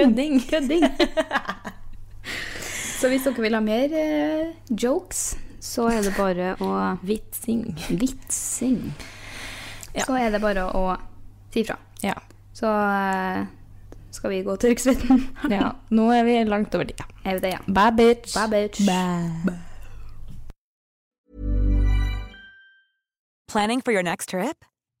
Speaker 1: Kødding.
Speaker 2: Kødding. (laughs) Så hvis dere vil ha mer eh, jokes, så er det bare å
Speaker 1: Vitsing.
Speaker 2: (laughs) Vitsing.
Speaker 1: Ja.
Speaker 2: Så er det bare å si fra.
Speaker 1: Ja.
Speaker 2: Så eh, skal vi gå til Røyksvetten.
Speaker 1: ja. Nå er vi langt over tida.
Speaker 2: (laughs) Er vi det, ja.
Speaker 1: Bye, bitch.
Speaker 2: Bye, bitch.
Speaker 6: Planning for your next trip?